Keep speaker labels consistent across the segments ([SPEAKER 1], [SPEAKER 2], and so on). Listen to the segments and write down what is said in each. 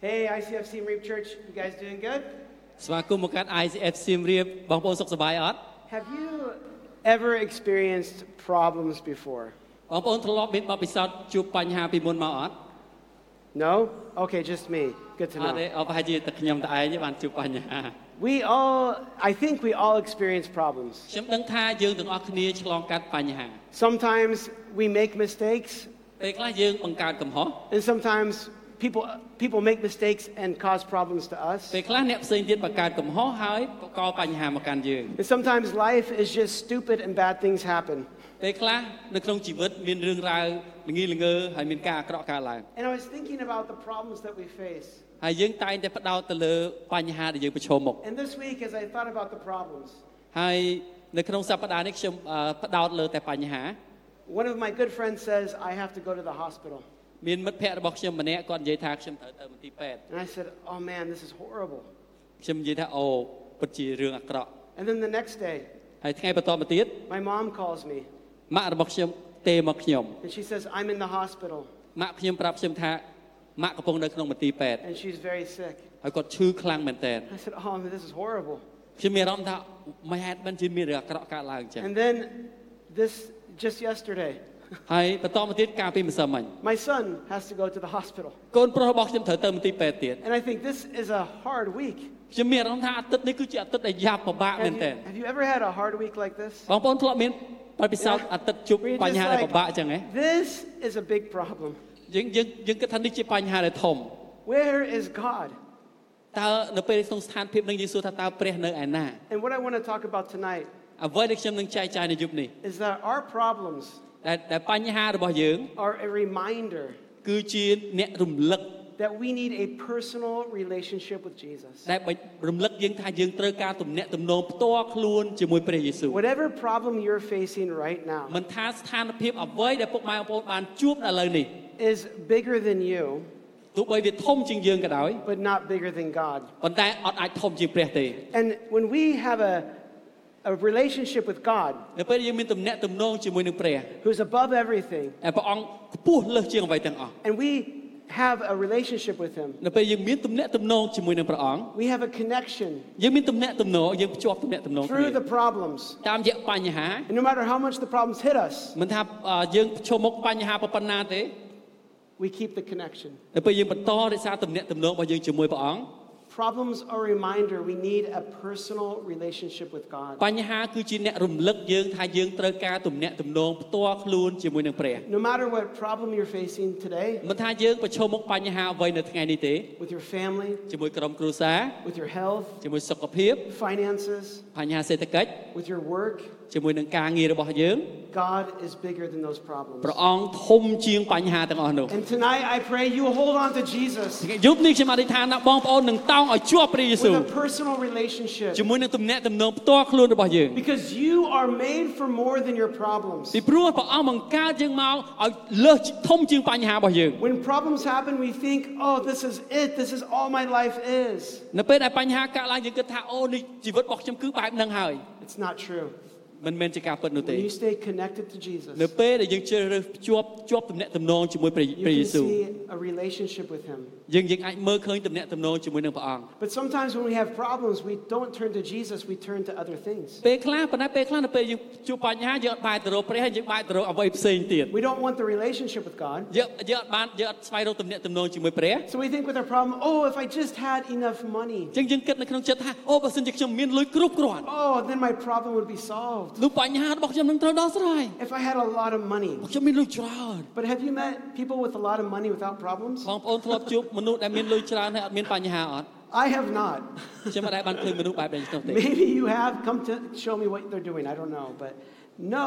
[SPEAKER 1] Hey, ICF Siem Reap Church, you guys doing good?
[SPEAKER 2] ស្វាគមន៍មកកាត់ ICF សៀមរាបបងប្អូនសុខសប្បាយអត់
[SPEAKER 1] Have you ever experienced problems before?
[SPEAKER 2] បងប្អូនធ្លាប់មានបទពិសោធន៍ជួបបញ្ហាពីមុនមកអត់
[SPEAKER 1] No? Okay, just me. Good to
[SPEAKER 2] អត់ទេ
[SPEAKER 1] know.
[SPEAKER 2] អត់ប្រហែលជាតែខ្ញុំតែឯងទេបានជួបបញ្ហា
[SPEAKER 1] We all, I think we all experience problems.
[SPEAKER 2] ខ្ញុំដឹងថាយើងទាំងអស់គ្នាឆ្លងកាត់បញ្ហា
[SPEAKER 1] Sometimes we make mistakes,
[SPEAKER 2] ពេលខ្លះយើងបង្កើតកំហុស
[SPEAKER 1] and sometimes people, people make mistakes and cause problems to us.
[SPEAKER 2] ពេលខ្លះអ្នកផ្សេងទៀតបង្កើតកំហុសហើយបង្កបញ្ហាមកកាន់យើង
[SPEAKER 1] And sometimes life is just stupid and bad things happen.
[SPEAKER 2] ពេលខ្លះនៅក្នុងជីវិតមានរឿងរ៉ាវល្ងីល្ងើហើយមានការអាក្រក់កើតឡើង
[SPEAKER 1] And I was thinking about the problems that we face.
[SPEAKER 2] ហើយយើងតែងតែផ្ដោតទៅលើបញ្ហាដែលយើងប្រឈមមុខ
[SPEAKER 1] And this week, as I thought about the problems,
[SPEAKER 2] ហើយនៅក្នុងសប្តាហ៍នេះខ្ញុំអឺផ្ដោតលើតែបញ្ហា
[SPEAKER 1] one of my good friends says, I have to go to the hospital.
[SPEAKER 2] មានមិត្តភ័ក្តិរបស់ខ្ញុំម្នាក់គាត់និយាយថាខ្ញុំត្រូវទៅមន្ទីរពេទ្យ
[SPEAKER 1] And I said, Oh man, this is horrible.
[SPEAKER 2] ខ្ញុំនិយាយថាអូពិតជារឿងអាក្រក់
[SPEAKER 1] And then the next day,
[SPEAKER 2] ហើយថ្ងៃបន្តមកទៀត
[SPEAKER 1] my mom calls me
[SPEAKER 2] ម៉ាក់របស់ខ្ញុំទេមកខ្ញុំ
[SPEAKER 1] and she says, I'm in the hospital
[SPEAKER 2] ម៉ាក់ខ្ញុំប្រាប់ខ្ញុំថាម៉ាក់កំពុងនៅក្នុងមន្ទីរពេទ្យ
[SPEAKER 1] and she's very sick.
[SPEAKER 2] ហើយគាត់ឈឺខ្លាំងមែនតើ
[SPEAKER 1] I said, Oh man, this is horrible.
[SPEAKER 2] ខ្ញុំមានអារម្មណ៍ថាមិនហេតុមិនជាមានរឿងអាក្រក់កើតឡើងចឹង
[SPEAKER 1] And then this, just yesterday,
[SPEAKER 2] ហើយបន្តមកទៀតកាលពីម្សិលមិញ
[SPEAKER 1] my son has to go to the hospital.
[SPEAKER 2] កូនប្រុសរបស់ខ្ញុំត្រូវទៅមន្ទីរពេទ្យទៀត
[SPEAKER 1] And I think this is a hard week.
[SPEAKER 2] ខ្ញុំមានអារម្មណ៍ថាអាទិត្យនេះគឺជាអាទិត្យដែលយ៉ាប់ពិបាកមែ
[SPEAKER 1] Have
[SPEAKER 2] ន
[SPEAKER 1] you,
[SPEAKER 2] តើ
[SPEAKER 1] have you ever had a hard week like this?
[SPEAKER 2] បងប្អូនធ្លាប់មានបទពិសោធន៍អាទិត្យជួប
[SPEAKER 1] Where you're
[SPEAKER 2] បញ្ហា
[SPEAKER 1] just
[SPEAKER 2] ដែលពិបាក
[SPEAKER 1] like,
[SPEAKER 2] ចឹងហ៎
[SPEAKER 1] this is a big problem.
[SPEAKER 2] យើងយើងយើងគិតថានេះជាបញ្ហាដែលធំ
[SPEAKER 1] Where is God?
[SPEAKER 2] តើនៅពេលក្នុងស្ថានភាពនឹងយើងសួរថាតើព្រះនៅឯណា
[SPEAKER 1] And what I want to talk about tonight
[SPEAKER 2] អ្វីដែលខ្ញុំនឹងចែកចាយនៅយប់នេះ
[SPEAKER 1] is that our problems
[SPEAKER 2] ដែលដែលបញ្ហារបស់យើង
[SPEAKER 1] are a reminder
[SPEAKER 2] គឺជាអ្នករំលឹក
[SPEAKER 1] that we need a personal relationship with Jesus.
[SPEAKER 2] ដែលបញ្រំលឹកយើងថាយើងត្រូវការទំនាក់ទំនងផ្ទាល់ខ្លួនជាមួយព្រះយេស៊ូវ
[SPEAKER 1] Whatever problem you're facing right now
[SPEAKER 2] មិនថាស្ថានភាពអ្វីដែលពុកម៉ែបងប្អូនបានជួបនៅឥឡូវនេះ
[SPEAKER 1] is bigger than you,
[SPEAKER 2] ទោះបីវាធំជាងយើងក៏ដោយ
[SPEAKER 1] but not bigger than God.
[SPEAKER 2] ប៉ុន្តែអត់អាចធំជាងព្រះទេ
[SPEAKER 1] And when we have a, a relationship with God,
[SPEAKER 2] នៅពេលដែលយើងមានទំនាក់ទំនងជាមួយនឹងព្រះ
[SPEAKER 1] who's above everything,
[SPEAKER 2] ដែលព្រះអង្គខ្ពស់លើសជាងអ្វីទាំងអស់
[SPEAKER 1] and we have a relationship with Him,
[SPEAKER 2] នៅពេលយើងមានទំនាក់ទំនងជាមួយនឹងព្រះអង្គ
[SPEAKER 1] we have a connection
[SPEAKER 2] យើងមានទំនាក់ទំនងយើងភ្ជាប់ទំនាក់ទំនងគ្នា
[SPEAKER 1] through the problems.
[SPEAKER 2] តាមរយៈបញ្ហា
[SPEAKER 1] And no matter how much the problems hit us,
[SPEAKER 2] មិនថាអឺយើងប្រឈមមុខបញ្ហាប៉ុណ្ណាទេ
[SPEAKER 1] we keep the connection.
[SPEAKER 2] នៅពេលយើងបន្តរក្សាទំនាក់ទំនងរបស់យើងជាមួយព្រះអង្គ
[SPEAKER 1] Problems are a reminder we need a personal relationship with God.
[SPEAKER 2] បញ្ហាគឺជាអ្នករំលឹកយើងថាយើងត្រូវការទំនាក់ទំនងផ្ទាល់ខ្លួនជាមួយនឹងព្រះ
[SPEAKER 1] No matter what problem you're facing today,
[SPEAKER 2] មិនថាយើងប្រឈមមុខបញ្ហាអ្វីនៅថ្ងៃនេះទេ
[SPEAKER 1] with your family,
[SPEAKER 2] ជាមួយក្រុមគ្រួសារ
[SPEAKER 1] with your health,
[SPEAKER 2] ជាមួយសុខភាព
[SPEAKER 1] finances,
[SPEAKER 2] បញ្ហាសេដ្ឋកិច្ច
[SPEAKER 1] with your work,
[SPEAKER 2] ជាមួយនឹងការងាររបស់យើង
[SPEAKER 1] God is bigger than those problems.
[SPEAKER 2] ព្រះអង្គធំជាងបញ្ហាទាំងអស់នោះ
[SPEAKER 1] And tonight I pray you hold on to Jesus
[SPEAKER 2] យប់នេះខ្ញុំអធិដ្ឋានថាបងប្អូននឹងតោងឲ្យជាប់ព្រះយេស៊ូ
[SPEAKER 1] with
[SPEAKER 2] វ
[SPEAKER 1] a personal relationship
[SPEAKER 2] ជាមួយនឹងទំនាក់ទំនងផ្ទាល់ខ្លួនរបស់យើង
[SPEAKER 1] because you are made for more than your problems.
[SPEAKER 2] ពីព្រោះព្រះអង្គបង្កើតយើងមកឲ្យលើសធំជាងបញ្ហារបស់យើង
[SPEAKER 1] When problems happen, we think, oh, this is it. This is all my life is.
[SPEAKER 2] នៅពេលដែលបញ្ហាកើតឡើងយើងគិតថាអូនេះជីវិតរបស់ខ្ញុំគឺបែបហ្នឹងហើយ
[SPEAKER 1] It's not true.
[SPEAKER 2] មិនមែនជាការពិតនោះទេ
[SPEAKER 1] When you stay connected to
[SPEAKER 2] នៅ
[SPEAKER 1] Jesus,
[SPEAKER 2] ពេលដែលយើងជ្រើសរើសភ្ជាប់ជាប់ទំនាក់ទំនងជាមួយព្រះ
[SPEAKER 1] you
[SPEAKER 2] ព្រះ
[SPEAKER 1] can
[SPEAKER 2] យេស៊ូវ
[SPEAKER 1] see a relationship with Him.
[SPEAKER 2] យើងយើងអាចមើលឃើញទំនាក់ទំនងជាមួយនឹងព្រះអង្គ
[SPEAKER 1] But sometimes when we have problems, we don't turn to Jesus, we turn to other things.
[SPEAKER 2] ពេលខ្លះប៉ុន្តែពេលខ្លះនៅពេលយើងជួបបញ្ហាយើងអត់បែរទៅរកព្រះហើយយើងបែរទៅរកអ្វីផ្សេងទៀត
[SPEAKER 1] We don't want the relationship with God.
[SPEAKER 2] យើងយើងអត់បានយើងអត់ស្វែងរកទំនាក់ទំនងជាមួយព្រះ
[SPEAKER 1] So we think with our problem, oh, if I just had enough money,
[SPEAKER 2] អញ្ចឹងយើងគិតនៅក្នុងចិត្តថាអូបើសិនជាខ្ញុំមានលុយគ្រប់គ្រាន់
[SPEAKER 1] oh, then my problem would be solved.
[SPEAKER 2] នោះបញ្ហារបស់ខ្ញុំនឹងត្រូវដោះស្រាយ
[SPEAKER 1] If I had a lot of money.
[SPEAKER 2] ខ្ញុំមានលុយច្រើន
[SPEAKER 1] But have you met people with a lot of money without problems?
[SPEAKER 2] បងប្អូនធ្លាប់ជួបមនុស្សដែលមានលុយច្រើនហើយអត់មានបញ្ហាអត់
[SPEAKER 1] I have not.
[SPEAKER 2] ខ្ញុំមិនដែលបានឃើញមនុស្សបែបនេះទេ
[SPEAKER 1] Maybe you have. Come to show me what they're doing. I don't know. But no,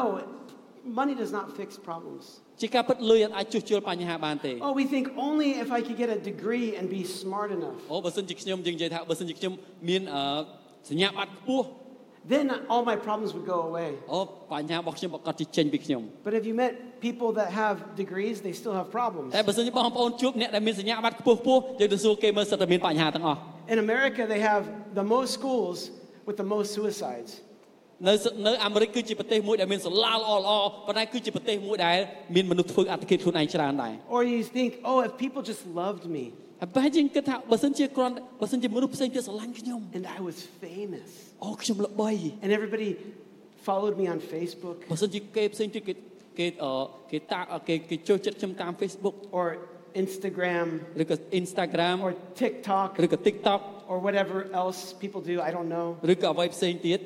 [SPEAKER 1] money does not fix problems.
[SPEAKER 2] ជាការពិតលុយអត់អាចជួសជុលបញ្ហាបានទេ
[SPEAKER 1] Oh, we think only if I could get a degree and be smart enough,
[SPEAKER 2] អូបើសិនជាខ្ញុំយើងនិយាយថាបើសិនជាខ្ញុំមានអឺសញ្ញាបត្រខ្ពស់
[SPEAKER 1] then all my problems would go away.
[SPEAKER 2] អូបញ្ហារបស់ខ្ញុំប្រកាសជាចេញពីខ្ញុំ
[SPEAKER 1] But have you met people that have degrees? They still have problems.
[SPEAKER 2] តែបើសិនជាបងប្អូនជួបអ្នកដែលមានសញ្ញាបត្រខ្ពស់ខ្ពស់យើងទៅសួរគេមើលសិតតែមានបញ្ហាទាំងអស់
[SPEAKER 1] In America, they have the most schools with the most suicides.
[SPEAKER 2] នៅសនៅអាមេរិកគឺជាប្រទេសមួយដែលមានសាលាល្អល្អប៉ុន្តែគឺជាប្រទេសមួយដែលមានមនុស្សធ្វើអត្តឃាតខ្លួនឯងច្រើនដែរ
[SPEAKER 1] Or you think, oh, if people just loved me,
[SPEAKER 2] ហើយបែរជាគិតថាបើសិនជាគ្រាន់តែបើសិនជាមនុស្សផ្សេងទៀតស្រឡាញ់ខ្ញុំ
[SPEAKER 1] And I was famous.
[SPEAKER 2] អូខ្ញុំល្បី
[SPEAKER 1] And everybody followed me on Facebook
[SPEAKER 2] បើសិនជាគេផ្សេងទៀតគេគេអឺគេតាអឺគេគេចូលចិត្តខ្ញុំតាម Facebook
[SPEAKER 1] or Instagram
[SPEAKER 2] ឬក៏ Instagram
[SPEAKER 1] or TikTok
[SPEAKER 2] ឬក៏ TikTok
[SPEAKER 1] or whatever else people do. I don't know.
[SPEAKER 2] ឬក៏អ្វីផ្សេងទៀត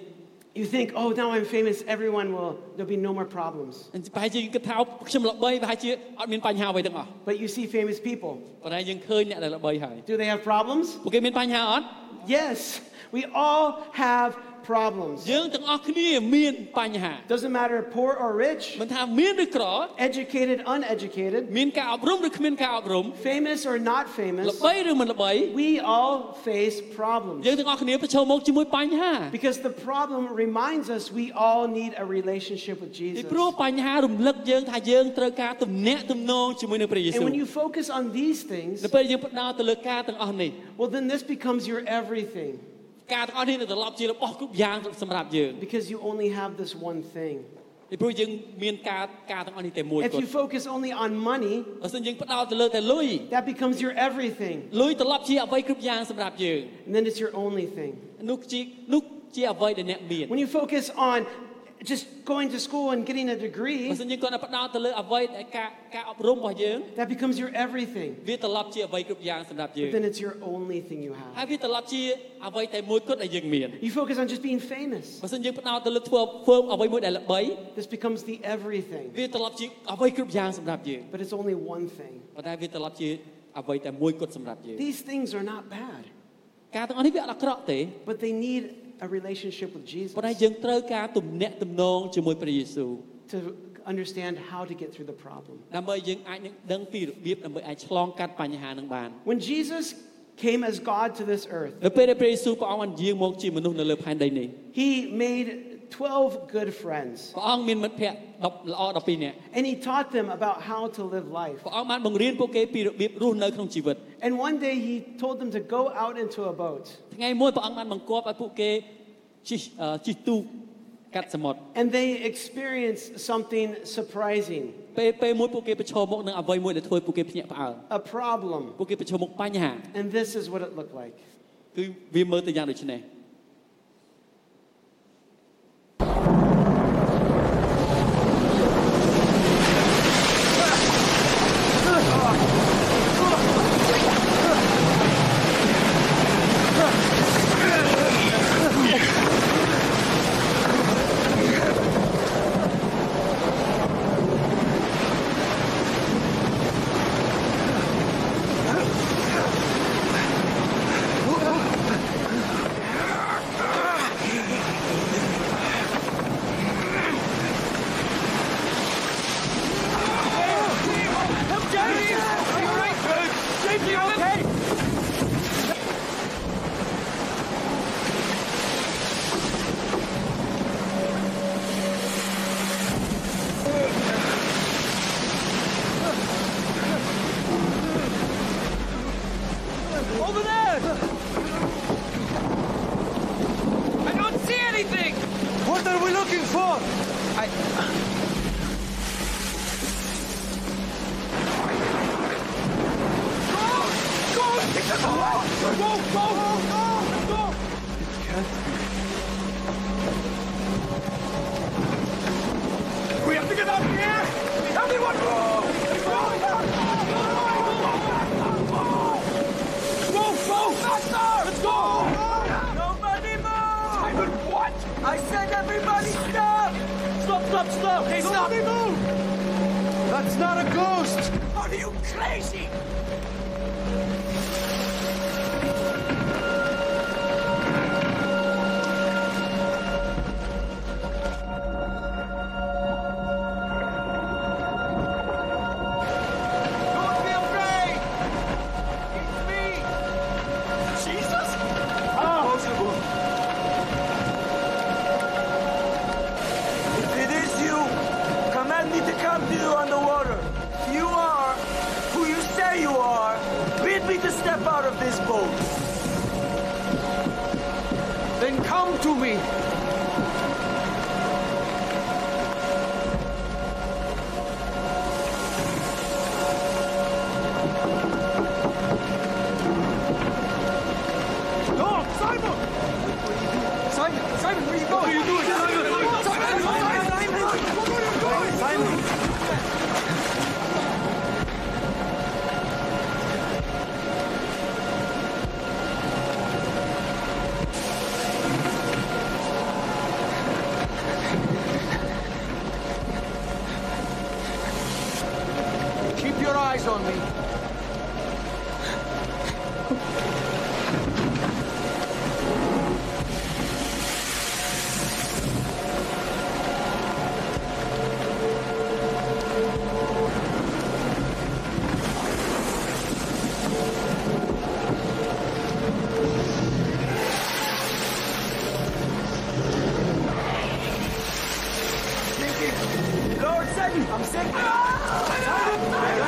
[SPEAKER 1] You think, oh, now I'm famous. Everyone will, there'll be no more problems.
[SPEAKER 2] ប្រហែលជាយើងគិតថាខ្ញុំល្បីប្រហែលជាអត់មានបញ្ហាអ្វីទាំងអស់
[SPEAKER 1] But you see famous people.
[SPEAKER 2] ប៉ុន្តែយើងឃើញអ្នកដែលល្បីហើយ
[SPEAKER 1] Do they have problems?
[SPEAKER 2] ពួកគេមានបញ្ហាអត់
[SPEAKER 1] Yes, we all have problems.
[SPEAKER 2] យើងទាំងអស់គ្នាមានបញ្ហា
[SPEAKER 1] Doesn't matter poor or rich,
[SPEAKER 2] មិនថាមានឬក្រ
[SPEAKER 1] educated, uneducated,
[SPEAKER 2] មានការអប់រំឬគ្មានការអប់រំ
[SPEAKER 1] famous or not famous.
[SPEAKER 2] ល្បីឬមិនល្បី
[SPEAKER 1] We all face problems
[SPEAKER 2] យើងទាំងអស់គ្នាប្រឈមមុខជាមួយបញ្ហា
[SPEAKER 1] because the problem reminds us we all need a relationship with
[SPEAKER 2] ពី
[SPEAKER 1] Jesus.
[SPEAKER 2] ព្រោះបញ្ហារំលឹកយើងថាយើងត្រូវការទំនាក់ទំនងជាមួយនឹងព្រះយេស៊ូ
[SPEAKER 1] And
[SPEAKER 2] វ
[SPEAKER 1] when you focus on these things,
[SPEAKER 2] នៅពេលយើងផ្ដោតទៅលើការទាំងអស់នេះ
[SPEAKER 1] well, then this becomes your everything
[SPEAKER 2] ការទាំងអស់នេះនឹងត្រឡប់ជារបស់គ្រប់យ៉ាងសម្រាប់យើង
[SPEAKER 1] because you only have this one thing.
[SPEAKER 2] ពីព្រោះយើងមានការការទាំងអស់នេះតែមួយ
[SPEAKER 1] If
[SPEAKER 2] គត់
[SPEAKER 1] you focus only on money,
[SPEAKER 2] បើសិនយើងផ្ដោតទៅលើតែលុយ
[SPEAKER 1] that becomes your everything,
[SPEAKER 2] លុយត្រឡប់ជាអ្វីគ្រប់យ៉ាងសម្រាប់យើង
[SPEAKER 1] and then it's your only thing.
[SPEAKER 2] នោះជានោះជាអ្វីដែលអ្នកមាន
[SPEAKER 1] When you focus on just going to school and getting a
[SPEAKER 2] បើ
[SPEAKER 1] degree,
[SPEAKER 2] សិនយើងគាត់តែផ្ដោតទៅលើអ្វីដែលការការអប់រំរបស់យើង
[SPEAKER 1] that becomes your everything.
[SPEAKER 2] វាត្រឡប់ជាអ្វីគ្រប់យ៉ាងសម្រាប់យើង
[SPEAKER 1] But then it's your only thing you
[SPEAKER 2] ហើ
[SPEAKER 1] have.
[SPEAKER 2] យវាត្រឡប់ជាអ្វីតែមួយគត់ដែលយើងមាន
[SPEAKER 1] You focus on just being famous.
[SPEAKER 2] បើសិនយើងផ្ដោតទៅលើធ្វើធ្វើអ្វីមួយដែលល្បី
[SPEAKER 1] This becomes the everything.
[SPEAKER 2] វាត្រឡប់ជាអ្វីគ្រប់យ៉ាងសម្រាប់យើង
[SPEAKER 1] But it's only one thing.
[SPEAKER 2] ប៉ុន្តែវាត្រឡប់ជាអ្វីតែមួយគត់សម្រាប់យើង
[SPEAKER 1] These things are not bad,
[SPEAKER 2] ការទាំងអស់នេះវាអត់អាក្រក់ទេ
[SPEAKER 1] but they need a relationship with Jesus
[SPEAKER 2] ប៉ុន្តែយើងត្រូវការទំនាក់ទំនងជាមួយព្រះយេស៊ូវ
[SPEAKER 1] to understand how to get through the problem.
[SPEAKER 2] ដើម្បីយើងអាចនឹងដឹងពីរបៀបដើម្បីអាចឆ្លងកាត់បញ្ហានឹងបាន
[SPEAKER 1] When Jesus came as God to this earth,
[SPEAKER 2] នៅពេលដែលព្រះយេស៊ូវព្រះអង្គបានយាងមកជាមនុស្សនៅលើផែនដីនេះ
[SPEAKER 1] he made 12 good friends
[SPEAKER 2] ព្រះអង្គមានមិត្តភក្តិ10ល្អ12នាក់
[SPEAKER 1] and he taught them about how to live life.
[SPEAKER 2] ព្រះអង្គបានបង្រៀនពួកគេពីរបៀបរស់នៅក្នុងជីវិត
[SPEAKER 1] And one day he told them to go out into a boat
[SPEAKER 2] ថ្ងៃមួយព្រះអង្គបានបង្គាប់ឲ្យពួកគេជិះអឺជិះទូកកាត់សមុទ្រ
[SPEAKER 1] and they experienced something surprising,
[SPEAKER 2] ពេលពេលមួយពួកគេប្រឈមមុខនឹងអ្វីមួយដែលធ្វើឲ្យពួកគេភ្ញាក់ផ្អើល
[SPEAKER 1] a problem.
[SPEAKER 2] ពួកគេប្រឈមមុខបញ្ហា
[SPEAKER 1] And this is what it looked like.
[SPEAKER 2] គឺវាមើលទៅយ៉ាងដូចនេះ
[SPEAKER 3] James, you okay? Over there! I don't see anything! What are we looking for? I. Go! Go! It's a boat! Go! Go! Go! Go! We have to get out of here! Everyone move! Go! Go! Go! Faster! Let's go! Nobody move! Simon, what? I said everybody stop! Stop, stop, stop! Hey, stop! Nobody move! That's not a ghost! Are you crazy? Don't be afraid! It's me! Jesus? Impossible! If it is you, command me to come to you on the water. You are who you say you are. Bid me to step out of this boat. Then come to me. Where are you going? What are you doing? Simon! Simon! Simon! What are you doing? Simon! Keep your eyes on me. Lord Sutton, I'm sick. Help him, please!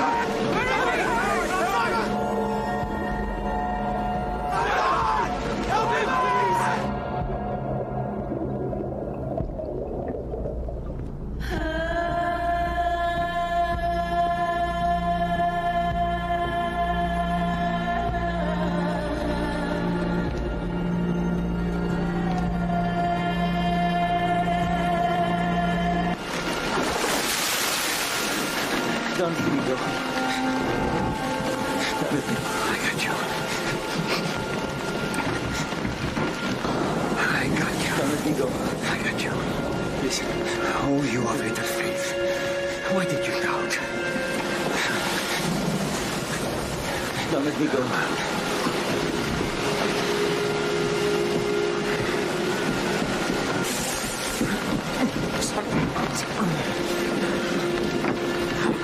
[SPEAKER 3] Don't be good. I got you. I got you. Don't let me go. I got you. Listen. Oh, you are little faith. Why did you doubt? Don't let me go.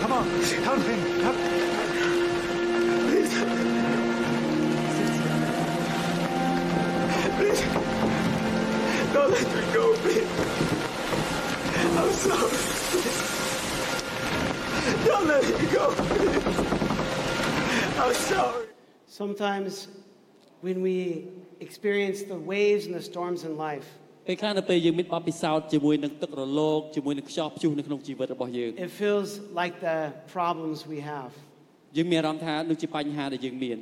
[SPEAKER 3] Come on. Help him. Help. Please. Please. Don't let me go, please. I'm sorry. Don't let me go. please. I'm sorry.
[SPEAKER 1] Sometimes when we experience the waves and the storms in life,
[SPEAKER 2] ពេលខ្លះនៅពេលយើងមានបទពិសោធន៍ជាមួយនឹងទឹករលកជាមួយនឹងខ្យល់ព្យុះនៅក្នុងជីវិតរបស់យើង
[SPEAKER 1] it feels like the problems we have.
[SPEAKER 2] យើងមានអារម្មណ៍ថាដូចជាបញ្ហាដែលយើងមាន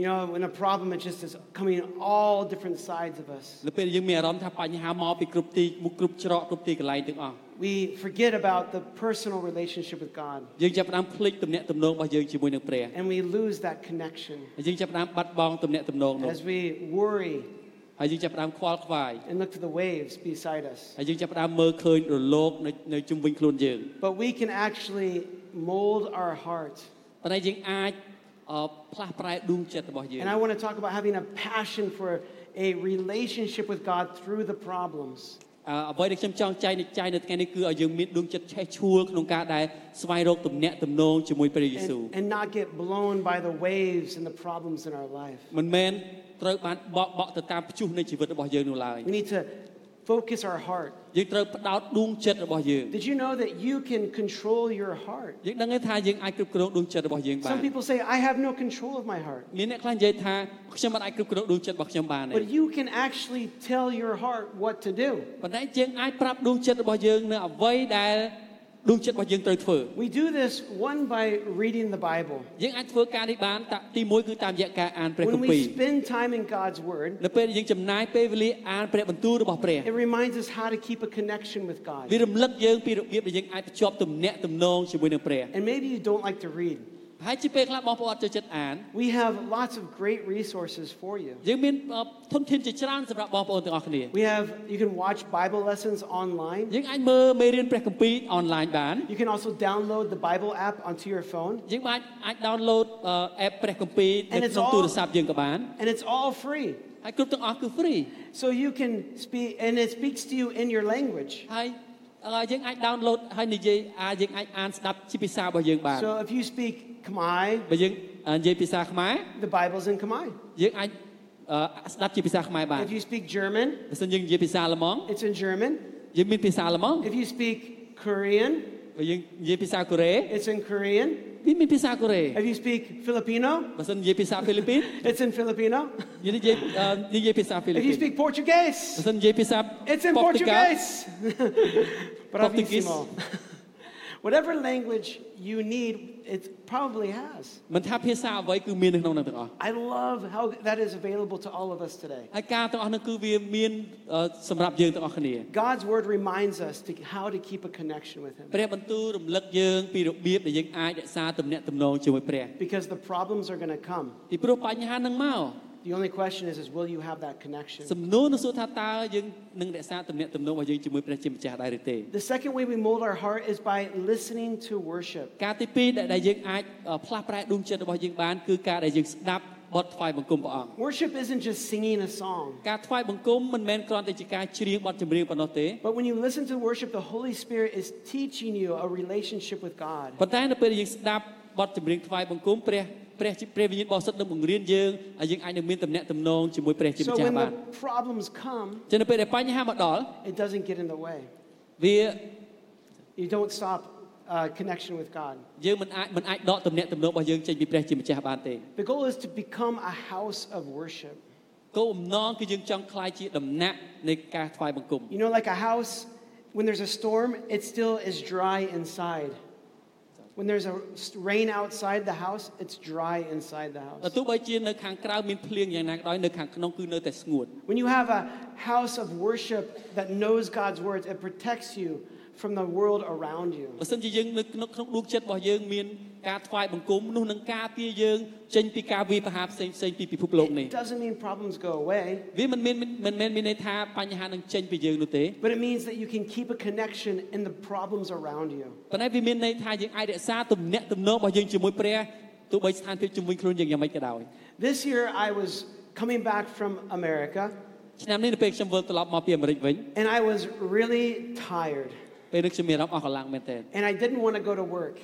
[SPEAKER 1] You know, when a problem it just is coming in all different sides of us.
[SPEAKER 2] នៅពេលយើងមានអារម្មណ៍ថាបញ្ហាមកពីគ្រប់ទីមុខគ្រប់ច្រកគ្រប់ទីកន្លែងទាំងអស់
[SPEAKER 1] We forget about the personal relationship with God
[SPEAKER 2] យើងចាប់ផ្ដើមភ្លេចទំនាក់ទំនងរបស់យើងជាមួយនឹងព្រះ
[SPEAKER 1] and we lose that connection
[SPEAKER 2] ហើយយើងចាប់ផ្ដើមបាត់បង់ទំនាក់ទំនងនោះ
[SPEAKER 1] as we worry
[SPEAKER 2] ហើយយើងចាប់ផ្ដើមខ្វល់ខ្វាយ
[SPEAKER 1] and look to the waves beside us.
[SPEAKER 2] ហើយយើងចាប់ផ្ដើមមើលឃើញរលកនៅនៅជុំវិញខ្លួនយើង
[SPEAKER 1] But we can actually mold our heart.
[SPEAKER 2] ប៉ុន្តែយើងអាចអឺផ្លាស់ប្រែដួងចិត្តរបស់យើង
[SPEAKER 1] And I want to talk about having a passion for a relationship with God through the problems.
[SPEAKER 2] អឺអ្វីដែលខ្ញុំចង់ចែកនៃចែកនៅថ្ងៃនេះគឺឲ្យយើងមានដួងចិត្តឆេះឆួលក្នុងការដែលស្វែងរកទំនាក់ទំនងជាមួយព្រះយេ
[SPEAKER 1] and-
[SPEAKER 2] ស៊ូវ
[SPEAKER 1] and not get blown by the waves and the problems in our life.
[SPEAKER 2] មិនមែនត្រូវបានបក់បក់ទៅតាមព្យុះនៃជីវិតរបស់យើងនោះឡើយ
[SPEAKER 1] We need to focus our heart.
[SPEAKER 2] យើងត្រូវផ្ដោតដួងចិត្តរបស់យើង
[SPEAKER 1] Did you know that you can control your heart?
[SPEAKER 2] យើងដឹងទេថាយើងអាចគ្រប់គ្រងដួងចិត្តរបស់យើងបាន
[SPEAKER 1] Some people say, I have no control of my heart.
[SPEAKER 2] មានអ្នកខ្លះនិយាយថាខ្ញុំមិនអាចគ្រប់គ្រងដួងចិត្តរបស់ខ្ញុំបានទេ
[SPEAKER 1] But you can actually tell your heart what to do.
[SPEAKER 2] ប៉ុន្តែយើងអាចប្រាប់ដួងចិត្តរបស់យើងនៅអ្វីដែលដួងចិត្តរបស់យើងត្រូវធ្វើ
[SPEAKER 1] We do this one by reading the Bible.
[SPEAKER 2] យើងអាចធ្វើការនេះបានតាទី1គឺតាមរយៈការអានព្រះគ
[SPEAKER 1] When
[SPEAKER 2] ម្ពីរ
[SPEAKER 1] we spend time in God's Word,
[SPEAKER 2] នៅពេលដែលយើងចំណាយពេលវេលាអានព្រះបន្ទូលរបស់ព្រះ
[SPEAKER 1] it reminds us how to keep a connection with
[SPEAKER 2] វា
[SPEAKER 1] God.
[SPEAKER 2] រំលឹកយើងពីរបៀបដែលយើងអាចភ្ជាប់ទំនាក់ទំនងជាមួយនឹងព្រះ
[SPEAKER 1] And maybe you don't like to read.
[SPEAKER 2] ហើយជាពេលខ្លះបងប្អូនអត់ចូលចិត្តអាន
[SPEAKER 1] We have lots of great resources for you.
[SPEAKER 2] យើងមានអឺធនធានជាច្រើនសម្រាប់បងប្អូនទាំងអស់គ្នា
[SPEAKER 1] We have you can watch Bible lessons online.
[SPEAKER 2] យើងអាចមើលមេរៀនព្រះគម្ពីរអនឡាញបាន
[SPEAKER 1] You can also download the Bible app onto your phone,
[SPEAKER 2] យើងអាចអាច download អឺ app ព្រះគម្ពីរ
[SPEAKER 1] And
[SPEAKER 2] នៅ
[SPEAKER 1] it's
[SPEAKER 2] ក្នុង
[SPEAKER 1] all-
[SPEAKER 2] ទូរស័ព្ទយើងក៏បាន
[SPEAKER 1] and it's all free.
[SPEAKER 2] ហើយគ្រប់ទាំងអស់គឺ free
[SPEAKER 1] So you can speak, and it speaks to you in your language.
[SPEAKER 2] ហើយអឺយើងអាច download ហើយនិយាយអាយើងអាចអានស្ដាប់ជាភាសារបស់យើងបាន
[SPEAKER 1] So if you speak Khmer,
[SPEAKER 2] បើយើងអឺនិយាយភាសាខ្មែរ
[SPEAKER 1] the Bible's in Khmer.
[SPEAKER 2] យើងអាចអឺស្ដាប់ជាភាសាខ្មែរបាន
[SPEAKER 1] If you speak German,
[SPEAKER 2] បើសិនយើងនិយាយភាសាអាល្លឺម៉ង់
[SPEAKER 1] it's in German.
[SPEAKER 2] យើងមានភាសាអាល្លឺម៉ង់
[SPEAKER 1] If you speak Korean,
[SPEAKER 2] បើយើងនិយាយភាសាកូរ៉េ
[SPEAKER 1] it's in Korean.
[SPEAKER 2] វាមានភាសាកូរ៉េ
[SPEAKER 1] If you speak Filipino,
[SPEAKER 2] បើសិននិយាយភាសាហ្វីលីពីន
[SPEAKER 1] it's in Filipino.
[SPEAKER 2] យើងនិយាយអឺនិយាយភាសាហ្វីលី
[SPEAKER 1] If
[SPEAKER 2] ពី
[SPEAKER 1] you
[SPEAKER 2] ន
[SPEAKER 1] speak
[SPEAKER 2] បើ
[SPEAKER 1] Portuguese,
[SPEAKER 2] សិននិយាយភាសា
[SPEAKER 1] it's in
[SPEAKER 2] ប៉ុកទីកាល់
[SPEAKER 1] Portuguese.
[SPEAKER 2] Portuguese.
[SPEAKER 1] Bravissimo. Whatever language you need, it probably has.
[SPEAKER 2] មិនថាភាសាអ្វីគឺមាននៅក្នុងនឹងទាំងអស់
[SPEAKER 1] I love how that is available to all of us today.
[SPEAKER 2] ហើយការទាំងអស់នោះគឺវាមានអឺសម្រាប់យើងទាំងអស់គ្នា
[SPEAKER 1] God's word reminds us to, how to keep a connection with Him
[SPEAKER 2] ព្រះបន្ទូលរំលឹកយើងពីរបៀបដែលយើងអាចរក្សាទំនាក់ទំនងជាមួយព្រះ
[SPEAKER 1] because the problems are going to come.
[SPEAKER 2] ពីព្រោះបញ្ហានឹងមក
[SPEAKER 1] The only question is, is will you have that connection?
[SPEAKER 2] សំណួរនោះសួរថាតើយើងនឹងរក្សាទំនាក់ទំនងរបស់យើងជាមួយព្រះជាម្ចាស់ដែរឬទេ
[SPEAKER 1] The second way we mold our heart is by listening to worship.
[SPEAKER 2] ការទី2ដែលដែលយើងអាចអឺផ្លាស់ប្រែដួងចិត្តរបស់យើងបានគឺការដែលយើងស្ដាប់បទថ្វាយបង្គំព្រះអង្គ
[SPEAKER 1] Worship isn't just singing a song,
[SPEAKER 2] ការថ្វាយបង្គំមិនមែនគ្រាន់តែជាការច្រៀងបទចម្រៀងប៉ុណ្ណោះទេ
[SPEAKER 1] but when you listen to worship, the Holy Spirit is teaching you a relationship with God.
[SPEAKER 2] ប៉ុន្តែនៅពេលដែលយើងស្ដាប់បទចម្រៀងថ្វាយបង្គំព្រះព្រះជាព្រះវិញ្ញាណបរិសុទ្ធនឹងបង្រៀនយើងហើយយើងអាចនឹងមានទំនាក់ទំនងជាមួយព្រះជា
[SPEAKER 1] So
[SPEAKER 2] ម្ចាស់
[SPEAKER 1] when
[SPEAKER 2] បា
[SPEAKER 1] the
[SPEAKER 2] ន
[SPEAKER 1] problems come,
[SPEAKER 2] ចឹងនៅពេលដែលបញ្ហាមកដល់
[SPEAKER 1] it doesn't get in the way.
[SPEAKER 2] វា
[SPEAKER 1] You don't stop uh, connection with God.
[SPEAKER 2] យើងមិនអាចមិនអាចដកទំនាក់ទំនងរបស់យើងចេញពីព្រះជាម្ចាស់បានទេ
[SPEAKER 1] The goal is to become a house of worship.
[SPEAKER 2] គោលបំណងគឺយើងចង់คลายជាដំណាក់នៃការថ្វាយបង្គំ
[SPEAKER 1] You know, like a house, when there's a storm, it still is dry inside. When there's a s- rain outside the house, it's dry inside the
[SPEAKER 2] បើ
[SPEAKER 1] house.
[SPEAKER 2] ទោះបីជានៅខាងក្រៅមានភ្លៀងយ៉ាងណាក៏ដោយនៅខាងក្នុងគឺនៅតែស្ងួត
[SPEAKER 1] When you have a house of worship that knows God's words, it protects you from the world around you.
[SPEAKER 2] បើសិនជាយើងនៅក្នុងក្នុងដួងចិត្តរបស់យើងមានការថ្វាយបង្គំនោះនឹងការពារយើងចេញពីការវាយប្រហារផ្សេងផ្សេងៗពីពិភពលោកនេះ
[SPEAKER 1] It doesn't mean problems go away,
[SPEAKER 2] វាមិនមានមិនមែនមានន័យថាបញ្ហានឹងចេញពីយើងនោះទេ
[SPEAKER 1] but it means that you can keep a connection in the problems around you.
[SPEAKER 2] ប៉ុន្តែវាមានន័យថាយើងអាចរក្សាទំនាក់ទំនងរបស់យើងជាមួយព្រះទោះបីស្ថានភាពជំនួយខ្លួនយើងយ៉ាងម៉េចក៏ដោយ
[SPEAKER 1] This year, I was coming back from America,
[SPEAKER 2] ឆ្នាំនេះនៅពេលខ្ញុំវិលត្រឡប់មកពីអាមេរិកវិញ
[SPEAKER 1] and I was really tired,
[SPEAKER 2] ពេលនេះខ្ញុំមានអារម្មណ៍អស់កម្លាំងមែនទែន
[SPEAKER 1] and I didn't want to go to work.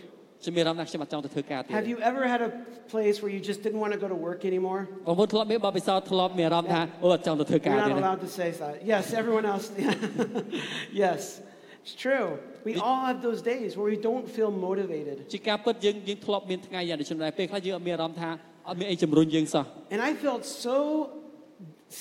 [SPEAKER 2] ខ្ញុំមានអារម្មណ៍ថាខ្ញុំអត់ចង់ទៅធ្វើការទេ
[SPEAKER 1] Have you ever had a place where you just didn't want to go to work anymore?
[SPEAKER 2] បងប្អូនធ្លាប់មានបបិសោធ្លាប់មានអារម្មណ៍ថាអូអត់ចង់ទៅធ្វើកា
[SPEAKER 1] You're
[SPEAKER 2] រ
[SPEAKER 1] not
[SPEAKER 2] ទេណា
[SPEAKER 1] allowed to say that. Yes, everyone else. yes, it's true. We all have those days where we don't feel motivated.
[SPEAKER 2] ជាការពិតយើងយើងធ្លាប់មានថ្ងៃយ៉ាងដូចនេះដែរពេលខ្លះយើងអត់មានអារម្មណ៍ថាអត់មានអីជំរុញយើងសោះ
[SPEAKER 1] And I felt so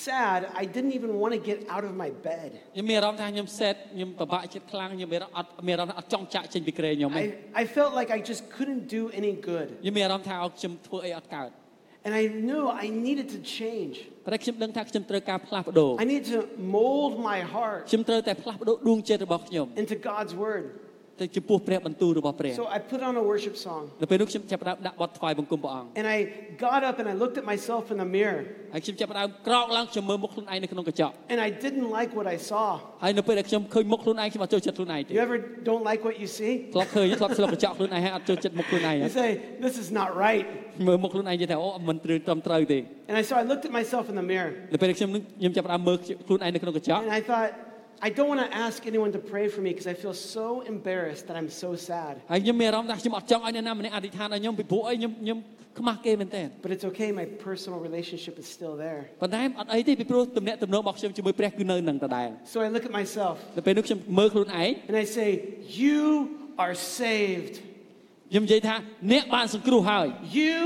[SPEAKER 1] sad, I didn't even want to get out of my bed.
[SPEAKER 2] ខ្ញុំមានអារម្មណ៍ថាខ្ញុំសេតខ្ញុំពិបាកចិត្តខ្លាំងខ្ញុំមានអារម្មណ៍អត់មានអារម្មណ៍ថាអត់ចង់ចាក់ចេញពីក្រែខ្ញុំទេ
[SPEAKER 1] I, I felt like I just couldn't do any good.
[SPEAKER 2] ខ្ញុំមានអារម្មណ៍ថាអត់ខ្ញុំធ្វើអីអត់កើត
[SPEAKER 1] And I knew I needed to change.
[SPEAKER 2] ប៉ុន្តែខ្ញុំដឹងថាខ្ញុំត្រូវការផ្លាស់ប្ដូរ
[SPEAKER 1] I needed to mold my heart
[SPEAKER 2] ខ្ញុំត្រូវតែផ្លាស់ប្ដូរដួងចិត្តរបស់ខ្ញុំ
[SPEAKER 1] into God's word.
[SPEAKER 2] ទៅចំពោះព្រះបន្ទូលរបស់ព្រះ
[SPEAKER 1] So I put on a worship song.
[SPEAKER 2] នៅពេលនោះខ្ញុំចាប់ផ្ដើមដាក់បទថ្វាយបង្គំព្រះអង្គ
[SPEAKER 1] And I got up and I looked at myself in the mirror.
[SPEAKER 2] ហើយខ្ញុំចាប់ផ្ដើមក្រោកឡើងខ្ញុំមើលមុខខ្លួនឯងនៅក្នុងកញ្ចក់
[SPEAKER 1] And I didn't like what I saw.
[SPEAKER 2] ហើយនៅពេលដែលខ្ញុំឃើញមុខខ្លួនឯងខ្ញុំអត់ចូលចិត្តខ្លួនឯងទេ
[SPEAKER 1] You ever don't like what you see?
[SPEAKER 2] ធ្លាប់ឃើញធ្លាប់ស្លុកកញ្ចក់ខ្លួនឯងហើយអត់ចូលចិត្តមុខខ្លួនឯង
[SPEAKER 1] You say, this is not right.
[SPEAKER 2] មើលមុខខ្លួនឯងនិយាយថាអូមិនត្រូវត្រឹមត្រូវទេ
[SPEAKER 1] And I, so I looked at myself in the mirror
[SPEAKER 2] នៅពេលដែលខ្ញុំនឹងខ្ញុំចាប់ផ្ដើមមើលខ្លួនឯងនៅក្នុងកញ្ចក់
[SPEAKER 1] and I thought, I don't want to ask anyone to pray for me because I feel so embarrassed that I'm so sad.
[SPEAKER 2] ហើយខ្ញុំមានអារម្មណ៍ថាខ្ញុំអត់ចង់ឲ្យអ្នកណាម្នាក់អធិដ្ឋានឲ្យខ្ញុំពីព្រោះអីខ្ញុំខ្ញុំខ្មាស់គេមែនទែន
[SPEAKER 1] But it's okay, my personal relationship is still there.
[SPEAKER 2] ប៉ុន្តែអត់អីទេពីព្រោះទំនាក់ទំនងរបស់ខ្ញុំជាមួយព្រះគឺនៅនឹងដដែល
[SPEAKER 1] So I look at myself
[SPEAKER 2] នៅពេលនោះខ្ញុំមើលខ្លួនឯង
[SPEAKER 1] and I say, You are saved.
[SPEAKER 2] ខ្ញុំនិយាយថាអ្នកបានសង្គ្រោះហើយ
[SPEAKER 1] You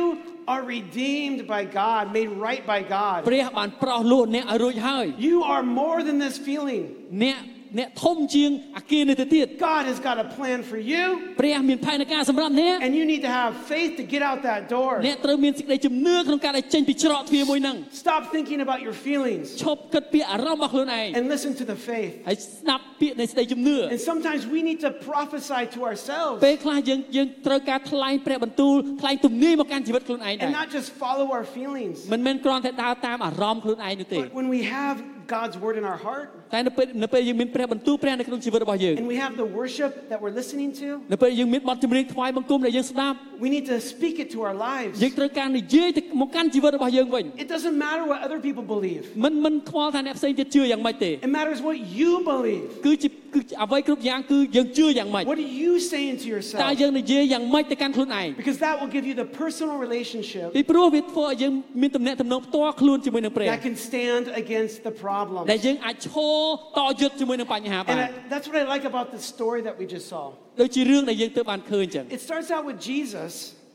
[SPEAKER 1] are redeemed by God, made right by God.
[SPEAKER 2] ព្រះបានប្រោសលោកអ្នកឲ្យរួចហើយ
[SPEAKER 1] You are more than this feeling.
[SPEAKER 2] អ្នកអ្នកធំជាងអាគារនេះទៅទៀត
[SPEAKER 1] God has got a plan for you,
[SPEAKER 2] ព្រះមានផែនការសម្រាប់អ្នក
[SPEAKER 1] and you need to have faith to get out that door.
[SPEAKER 2] អ្នកត្រូវមានសេចក្តីជំនឿក្នុងការដែលចេញពីច្រកទ្វារមួយហ្នឹង
[SPEAKER 1] Stop thinking about your feelings
[SPEAKER 2] ឈប់គិតពីអារម្មណ៍របស់ខ្លួនឯង
[SPEAKER 1] and listen to the faith.
[SPEAKER 2] ហើយស្ដាប់ពាក្យនៃសេចក្តីជំនឿ
[SPEAKER 1] And sometimes we need to prophesy to ourselves
[SPEAKER 2] ពេលខ្លះយើងយើងត្រូវការថ្លែងព្រះបន្ទូលថ្លែងទំនាយមកកាន់ជីវិតខ្លួនឯងដែ
[SPEAKER 1] and
[SPEAKER 2] រ
[SPEAKER 1] not just follow our feelings.
[SPEAKER 2] មិនមែនគ្រាន់តែដើរតាមអារម្មណ៍ខ្លួនឯងនោះទេ
[SPEAKER 1] But when we have God's word in our heart
[SPEAKER 2] តែនៅពេលនៅពេលយើងមានព្រះបន្ទូលព្រះនៅក្នុងជីវិតរបស់យើង
[SPEAKER 1] and we have the worship that we're listening to,
[SPEAKER 2] នៅពេលយើងមានបទចម្រៀងថ្វាយបង្គំដែលយើងស្ដាប់
[SPEAKER 1] we need to speak it to our lives.
[SPEAKER 2] យើងត្រូវការនិយាយទៅមកកាន់ជីវិតរបស់យើងវិញ
[SPEAKER 1] It doesn't matter what other people believe,
[SPEAKER 2] មិនមិនខ្វល់ថាអ្នកផ្សេងទៀតជឿយ៉ាងម៉េចទេ
[SPEAKER 1] it matters what you believe.
[SPEAKER 2] គឺជាគឺអ្វីគ្រប់យ៉ាងគឺយើងជឿយ៉ាងម៉េច
[SPEAKER 1] What are you saying to
[SPEAKER 2] តើ
[SPEAKER 1] yourself?
[SPEAKER 2] យើងនិយាយយ៉ាងម៉េចទៅកាន់ខ្លួនឯង
[SPEAKER 1] Because that will give you the personal relationship
[SPEAKER 2] ពីព្រោះវាធ្វើឲ្យយើងមានទំនាក់ទំនងផ្ទាល់ខ្លួនជាមួយនឹងព្រះ
[SPEAKER 1] that can stand against the problem.
[SPEAKER 2] ដែលយើងអាចឈរតយុទ្ធជាមួយនឹងបញ្ហាបា
[SPEAKER 1] And
[SPEAKER 2] ន
[SPEAKER 1] I, that's what I like about the story that we just saw.
[SPEAKER 2] ដូចជារឿងដែលយើងទើបបានឃើញចឹង
[SPEAKER 1] It starts out with Jesus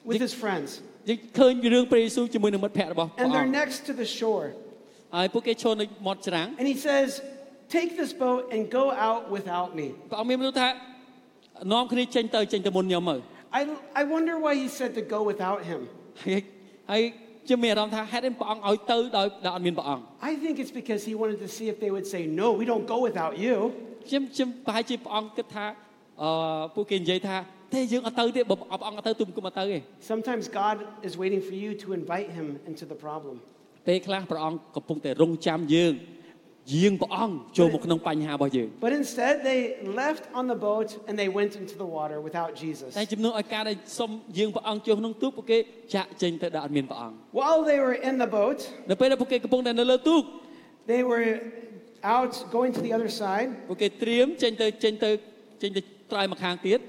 [SPEAKER 1] with his friends,
[SPEAKER 2] យើងឃើញរឿងព្រះយេស៊ូវជាមួយនឹងមិត្តភ័ក្តិរបស់ព្រះ
[SPEAKER 1] and
[SPEAKER 2] អ
[SPEAKER 1] they're
[SPEAKER 2] ង្គ
[SPEAKER 1] next to the shore.
[SPEAKER 2] ់ហើយពួកគេឈរនៅមាត់ច្រាំង
[SPEAKER 1] And he says, Take this boat and go out without me.
[SPEAKER 2] ព្រះអង្គមានមនុស្សថា នាំគ្នាចេញទៅចេញទៅមុនខ្ញុំមក
[SPEAKER 1] I, I wonder why he said to go without him.
[SPEAKER 2] ហើយហើយខ្ញុំមានអារម្មណ៍ថាហេតុអីព្រះអង្គឲ្យទៅដោយដោយអត់មានព្រះអង្គ
[SPEAKER 1] I think it's because he wanted to see if they would say, No, we don't go without you.
[SPEAKER 2] ខ្ញុំខ្ញុំប្រហែលជាព្រះអង្គគិតថាអឺពួកគេនិយាយថាទេយើងអត់ទៅទេបើព្រះអង្គអត់ទៅទុំគុំអត់ទៅទេ
[SPEAKER 1] Sometimes God is waiting for you to invite him into the problem.
[SPEAKER 2] ពេលខ្លះព្រះអង្គកំពុងតែរង់ចាំយើងយាងព្រះអង្គចូលមកក្នុងបញ្ហារបស់យើង
[SPEAKER 1] But instead, they left on the boat and they went into the water without Jesus.
[SPEAKER 2] តែជំនួសឲ្យការដែលសុំយាងព្រះអង្គចូលក្នុងទូកពួកគេចាក់ចេញទៅដល់អត់មានព្រះអង្គ
[SPEAKER 1] While they were in the boat,
[SPEAKER 2] នៅពេលដែលពួកគេកំពុងតែនៅលើទូក
[SPEAKER 1] they were out going to the other side.
[SPEAKER 2] ពួកគេត្រៀមចេញទៅចេញទៅចេញទៅត្រើយមកខាងទៀត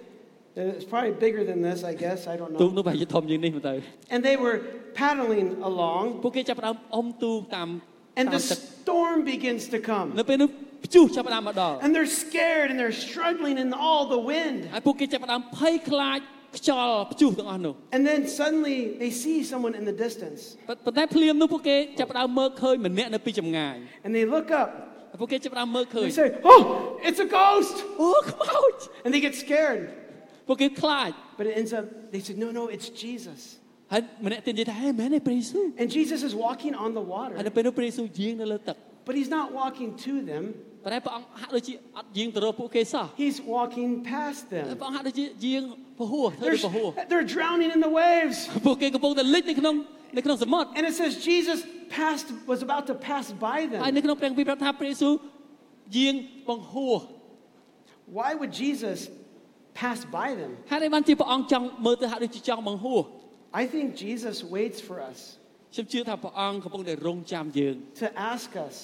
[SPEAKER 1] Uh, It's probably bigger than this, I guess. I don't
[SPEAKER 2] ទូក
[SPEAKER 1] know.
[SPEAKER 2] នោះប្រហែលជាធំជាងនេះមកទៅ
[SPEAKER 1] And they were paddling along,
[SPEAKER 2] ពួកគេចាប់ផ្ដើមអុំទូកតាម
[SPEAKER 1] and
[SPEAKER 2] តា
[SPEAKER 1] the
[SPEAKER 2] មទឹក
[SPEAKER 1] storm begins to come.
[SPEAKER 2] នៅពេលនោះព្យុះចាប់ផ្ដើមមកដល់
[SPEAKER 1] And they're scared and they're struggling in all the wind.
[SPEAKER 2] ហើយពួកគេចាប់ផ្ដើមភ័យខ្លាចខ្យល់ព្យុះទាំងអស់នោះ
[SPEAKER 1] And then suddenly they see someone in the distance
[SPEAKER 2] ប៉ុន្ប៉ុន្តែភ្លាមនោះពួកគេចាប់ផ្ដើមមើលឃើញម្នាក់នៅពីចម្ងាយ
[SPEAKER 1] and they look up.
[SPEAKER 2] ហើយពួកគេចាប់ផ្ដើមមើលឃើញ
[SPEAKER 1] They say, Oh, it's a ghost!
[SPEAKER 2] អូខ្មោច
[SPEAKER 1] And they get scared.
[SPEAKER 2] ពួកគេខ្លាច
[SPEAKER 1] But it ends up, they said, No, no, it's Jesus.
[SPEAKER 2] ហើយម្នាក់ទៀតនិយាយថាហេមែនទេព្រះយេស៊ូវ
[SPEAKER 1] And Jesus is walking on the
[SPEAKER 2] ហើយ
[SPEAKER 1] water,
[SPEAKER 2] នៅពេលនោះព្រះយេស៊ូវយាងនៅលើទឹក
[SPEAKER 1] but he's not walking to them,
[SPEAKER 2] ប៉ុន្តែព្រះអង្គហាក់ដូចជាអត់យាងទៅរកពួកគេសោះ
[SPEAKER 1] he's walking past
[SPEAKER 2] ហើយ
[SPEAKER 1] them.
[SPEAKER 2] ព្រះអង្គហាក់ដូចជាយាងពហួរធ្វើ
[SPEAKER 1] They're,
[SPEAKER 2] ទៅពហួរ
[SPEAKER 1] they're drowning in the waves.
[SPEAKER 2] ពួកគេកំពុងតែលិចនៅក្នុងនៅក្នុងសមុទ្រ
[SPEAKER 1] And it says Jesus passed, was about to pass by
[SPEAKER 2] ហើយ
[SPEAKER 1] them.
[SPEAKER 2] នៅក្នុងព្រះគម្ពីរប្រាប់ថាព្រះយេស៊ូវយាងបង្ហួរ
[SPEAKER 1] Why would Jesus pass by them?
[SPEAKER 2] ហើយនេះបានជាព្រះអង្គចង់មើលទៅហាក់ដូចជាចង់បង្ហួរ
[SPEAKER 1] I think Jesus waits for us
[SPEAKER 2] ខ្ញុំជឿថាព្រះអង្គកំពុងតែរង់ចាំយើង
[SPEAKER 1] to ask us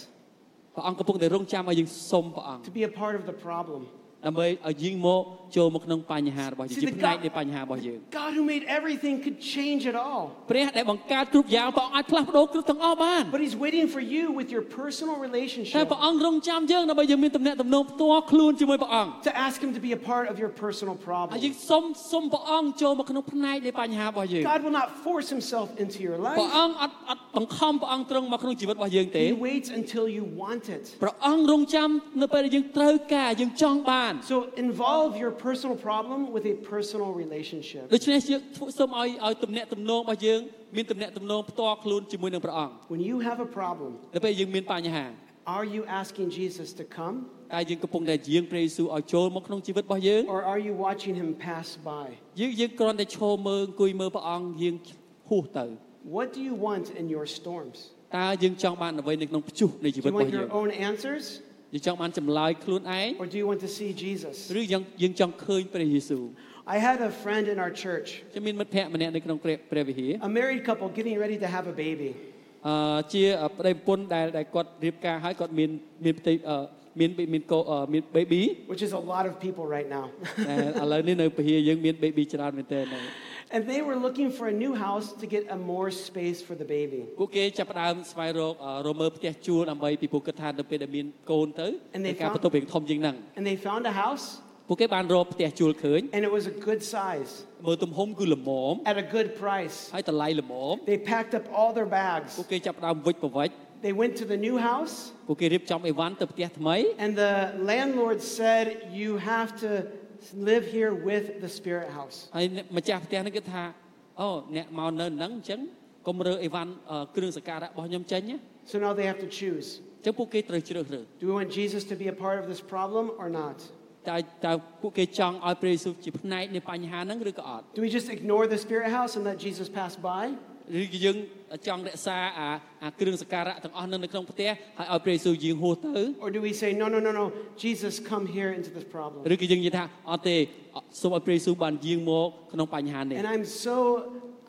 [SPEAKER 2] ព្រះអង្គកំពុងតែរង់ចាំឲ្យយើងសុំព្រះអង្គ
[SPEAKER 1] to be a part of the problem.
[SPEAKER 2] ដើម្បីឲ្យយើងមកចូលមកក្នុងបញ្ហារបស់យើង
[SPEAKER 1] See,
[SPEAKER 2] ជា
[SPEAKER 1] the
[SPEAKER 2] ផ្នែក
[SPEAKER 1] God-
[SPEAKER 2] នៃបញ្ហារបស់យើង
[SPEAKER 1] God who made everything could change it all.
[SPEAKER 2] ព្រះដែលបង្កើតគ្រប់យ៉ាងព្រះអង្គអាចផ្លាស់ប្ដូរគ្រប់ទាំងអស់បាន
[SPEAKER 1] But He's waiting for you with your personal
[SPEAKER 2] តែ
[SPEAKER 1] relationship
[SPEAKER 2] ព្រះអង្គរង់ចាំយើងដើម្បីយើងមានទំនាក់ទំនងផ្ទាល់ខ្លួនជាមួយព្រះអង្គ
[SPEAKER 1] to ask Him to be a part of your personal
[SPEAKER 2] ហើយយើង
[SPEAKER 1] problem.
[SPEAKER 2] សុំសុំព្រះអង្គចូលមកក្នុងផ្នែកនៃបញ្ហារបស់យើង
[SPEAKER 1] God will not force Himself into your
[SPEAKER 2] ព្រះ
[SPEAKER 1] life.
[SPEAKER 2] អង្គអត់អត់បង្ខំព្រះអង្គត្រង់មកក្នុងជីវិតរបស់យើងទេ
[SPEAKER 1] He waits until you want it.
[SPEAKER 2] ព្រះអង្គរង់ចាំនៅពេលដែលយើងត្រូវការយើងចង់បាន
[SPEAKER 1] So involve your personal problem with a personal relationship.
[SPEAKER 2] ដូច្នេះយើងធ្វើសូមឲ្យឲ្យទំនាក់ទំនងរបស់យើងមានទំនាក់ទំនងផ្ទាល់ខ្លួនជាមួយនឹងព្រះអង្គ
[SPEAKER 1] When you have a problem,
[SPEAKER 2] នៅពេលយើងមានបញ្ហា
[SPEAKER 1] are you asking Jesus to come
[SPEAKER 2] តែយើងកំពុងតែយាងព្រះយេស៊ូវឲ្យចូលមកក្នុងជីវិតរបស់យើង
[SPEAKER 1] or are you watching him pass by?
[SPEAKER 2] យើងយើងគ្រាន់តែឈរមើលអង្គុយមើលព្រះអង្គយាងហួសទៅ
[SPEAKER 1] What do you want in your storms?
[SPEAKER 2] តើយើងចង់បានអ្វីនៅក្នុងព្យុះនៃជី
[SPEAKER 1] Do
[SPEAKER 2] វិត
[SPEAKER 1] you
[SPEAKER 2] របស់
[SPEAKER 1] want
[SPEAKER 2] យើង
[SPEAKER 1] your own answers
[SPEAKER 2] យើងចង់បានចម្លើយខ្លួនឯង
[SPEAKER 1] or do you want to see Jesus?
[SPEAKER 2] ឬយើងយើងចង់ឃើញព្រះយេស៊ូវ
[SPEAKER 1] I had a friend in our church,
[SPEAKER 2] ខ្ញុំមានមិត្តភក្តិម្នាក់នៅក្នុងព្រះព្រះវិហារ
[SPEAKER 1] a married couple getting ready to have a baby.
[SPEAKER 2] អឺជាប្តីប្រពន្ធដែលដែលគាត់រៀបការហើយគាត់មានមានផ្ទៃអឺមានមានកូនអឺមាន baby
[SPEAKER 1] which is a lot of people right now.
[SPEAKER 2] តែឥឡូវនេះនៅពហិយយើងមាន baby ច្រើនមែនទែនហើយ
[SPEAKER 1] and they were looking for a new house to get a more space for the baby.
[SPEAKER 2] ពួកគេចាប់ផ្ដើមស្វែងរកអឺរមើលផ្ទះជួលដើម្បីពីពួកគាត់ថានៅពេលដែលមានកូនទៅ
[SPEAKER 1] And they
[SPEAKER 2] មានការ
[SPEAKER 1] found-
[SPEAKER 2] បន្ទប់រៀងធំជាងហ្នឹង
[SPEAKER 1] And they found a house
[SPEAKER 2] ពួកគេបានរកផ្ទះជួលឃើញ
[SPEAKER 1] and it was a good size
[SPEAKER 2] មើលទំហំគឺល្មម
[SPEAKER 1] at a good price.
[SPEAKER 2] ហើយតម្លៃល្មម
[SPEAKER 1] They packed up all their bags.
[SPEAKER 2] ពួកគេចាប់ផ្ដើមវិចប្រវិច
[SPEAKER 1] They went to the new house
[SPEAKER 2] ពួកគេរៀបចំអីវ៉ាន់ទៅផ្ទះថ្មី
[SPEAKER 1] and the landlord said you have to live here with the spirit house.
[SPEAKER 2] ហើយអ្នកម្ចាស់ផ្ទះហ្នឹងគេថាអូអ្នកមកនៅហ្នឹងអញ្ចឹងកុំរើអីវ៉ាន់អឺគ្រឿងសក្ការៈរបស់ខ្ញុំចេញណា
[SPEAKER 1] So now they have to choose.
[SPEAKER 2] អញ្ចឹងពួកគេត្រូវជ្រើសរើស
[SPEAKER 1] Do we want Jesus to be a part of this problem or not?
[SPEAKER 2] តើតើពួកគេចង់ឲ្យព្រះយេស៊ូវជាផ្នែកនៃបញ្ហាហ្នឹងឬក៏អត់
[SPEAKER 1] Do we just ignore the spirit house and let Jesus pass by?
[SPEAKER 2] ឬក៏យើងចង់រក្សាអាអាគ្រឿងសក្ការៈទាំងអស់ហ្នឹងនៅក្នុងផ្ទះហើយឲ្យព្រះយេស៊ូវយាងហួសទៅ
[SPEAKER 1] Or do we say, no, no, no, no, Jesus, come here into this problem?
[SPEAKER 2] ឬក៏យើងនិយាយថាអត់ទេអត់សូមឲ្យព្រះយេស៊ូវបានយាងមកក្នុងបញ្ហានេះ
[SPEAKER 1] And I'm so,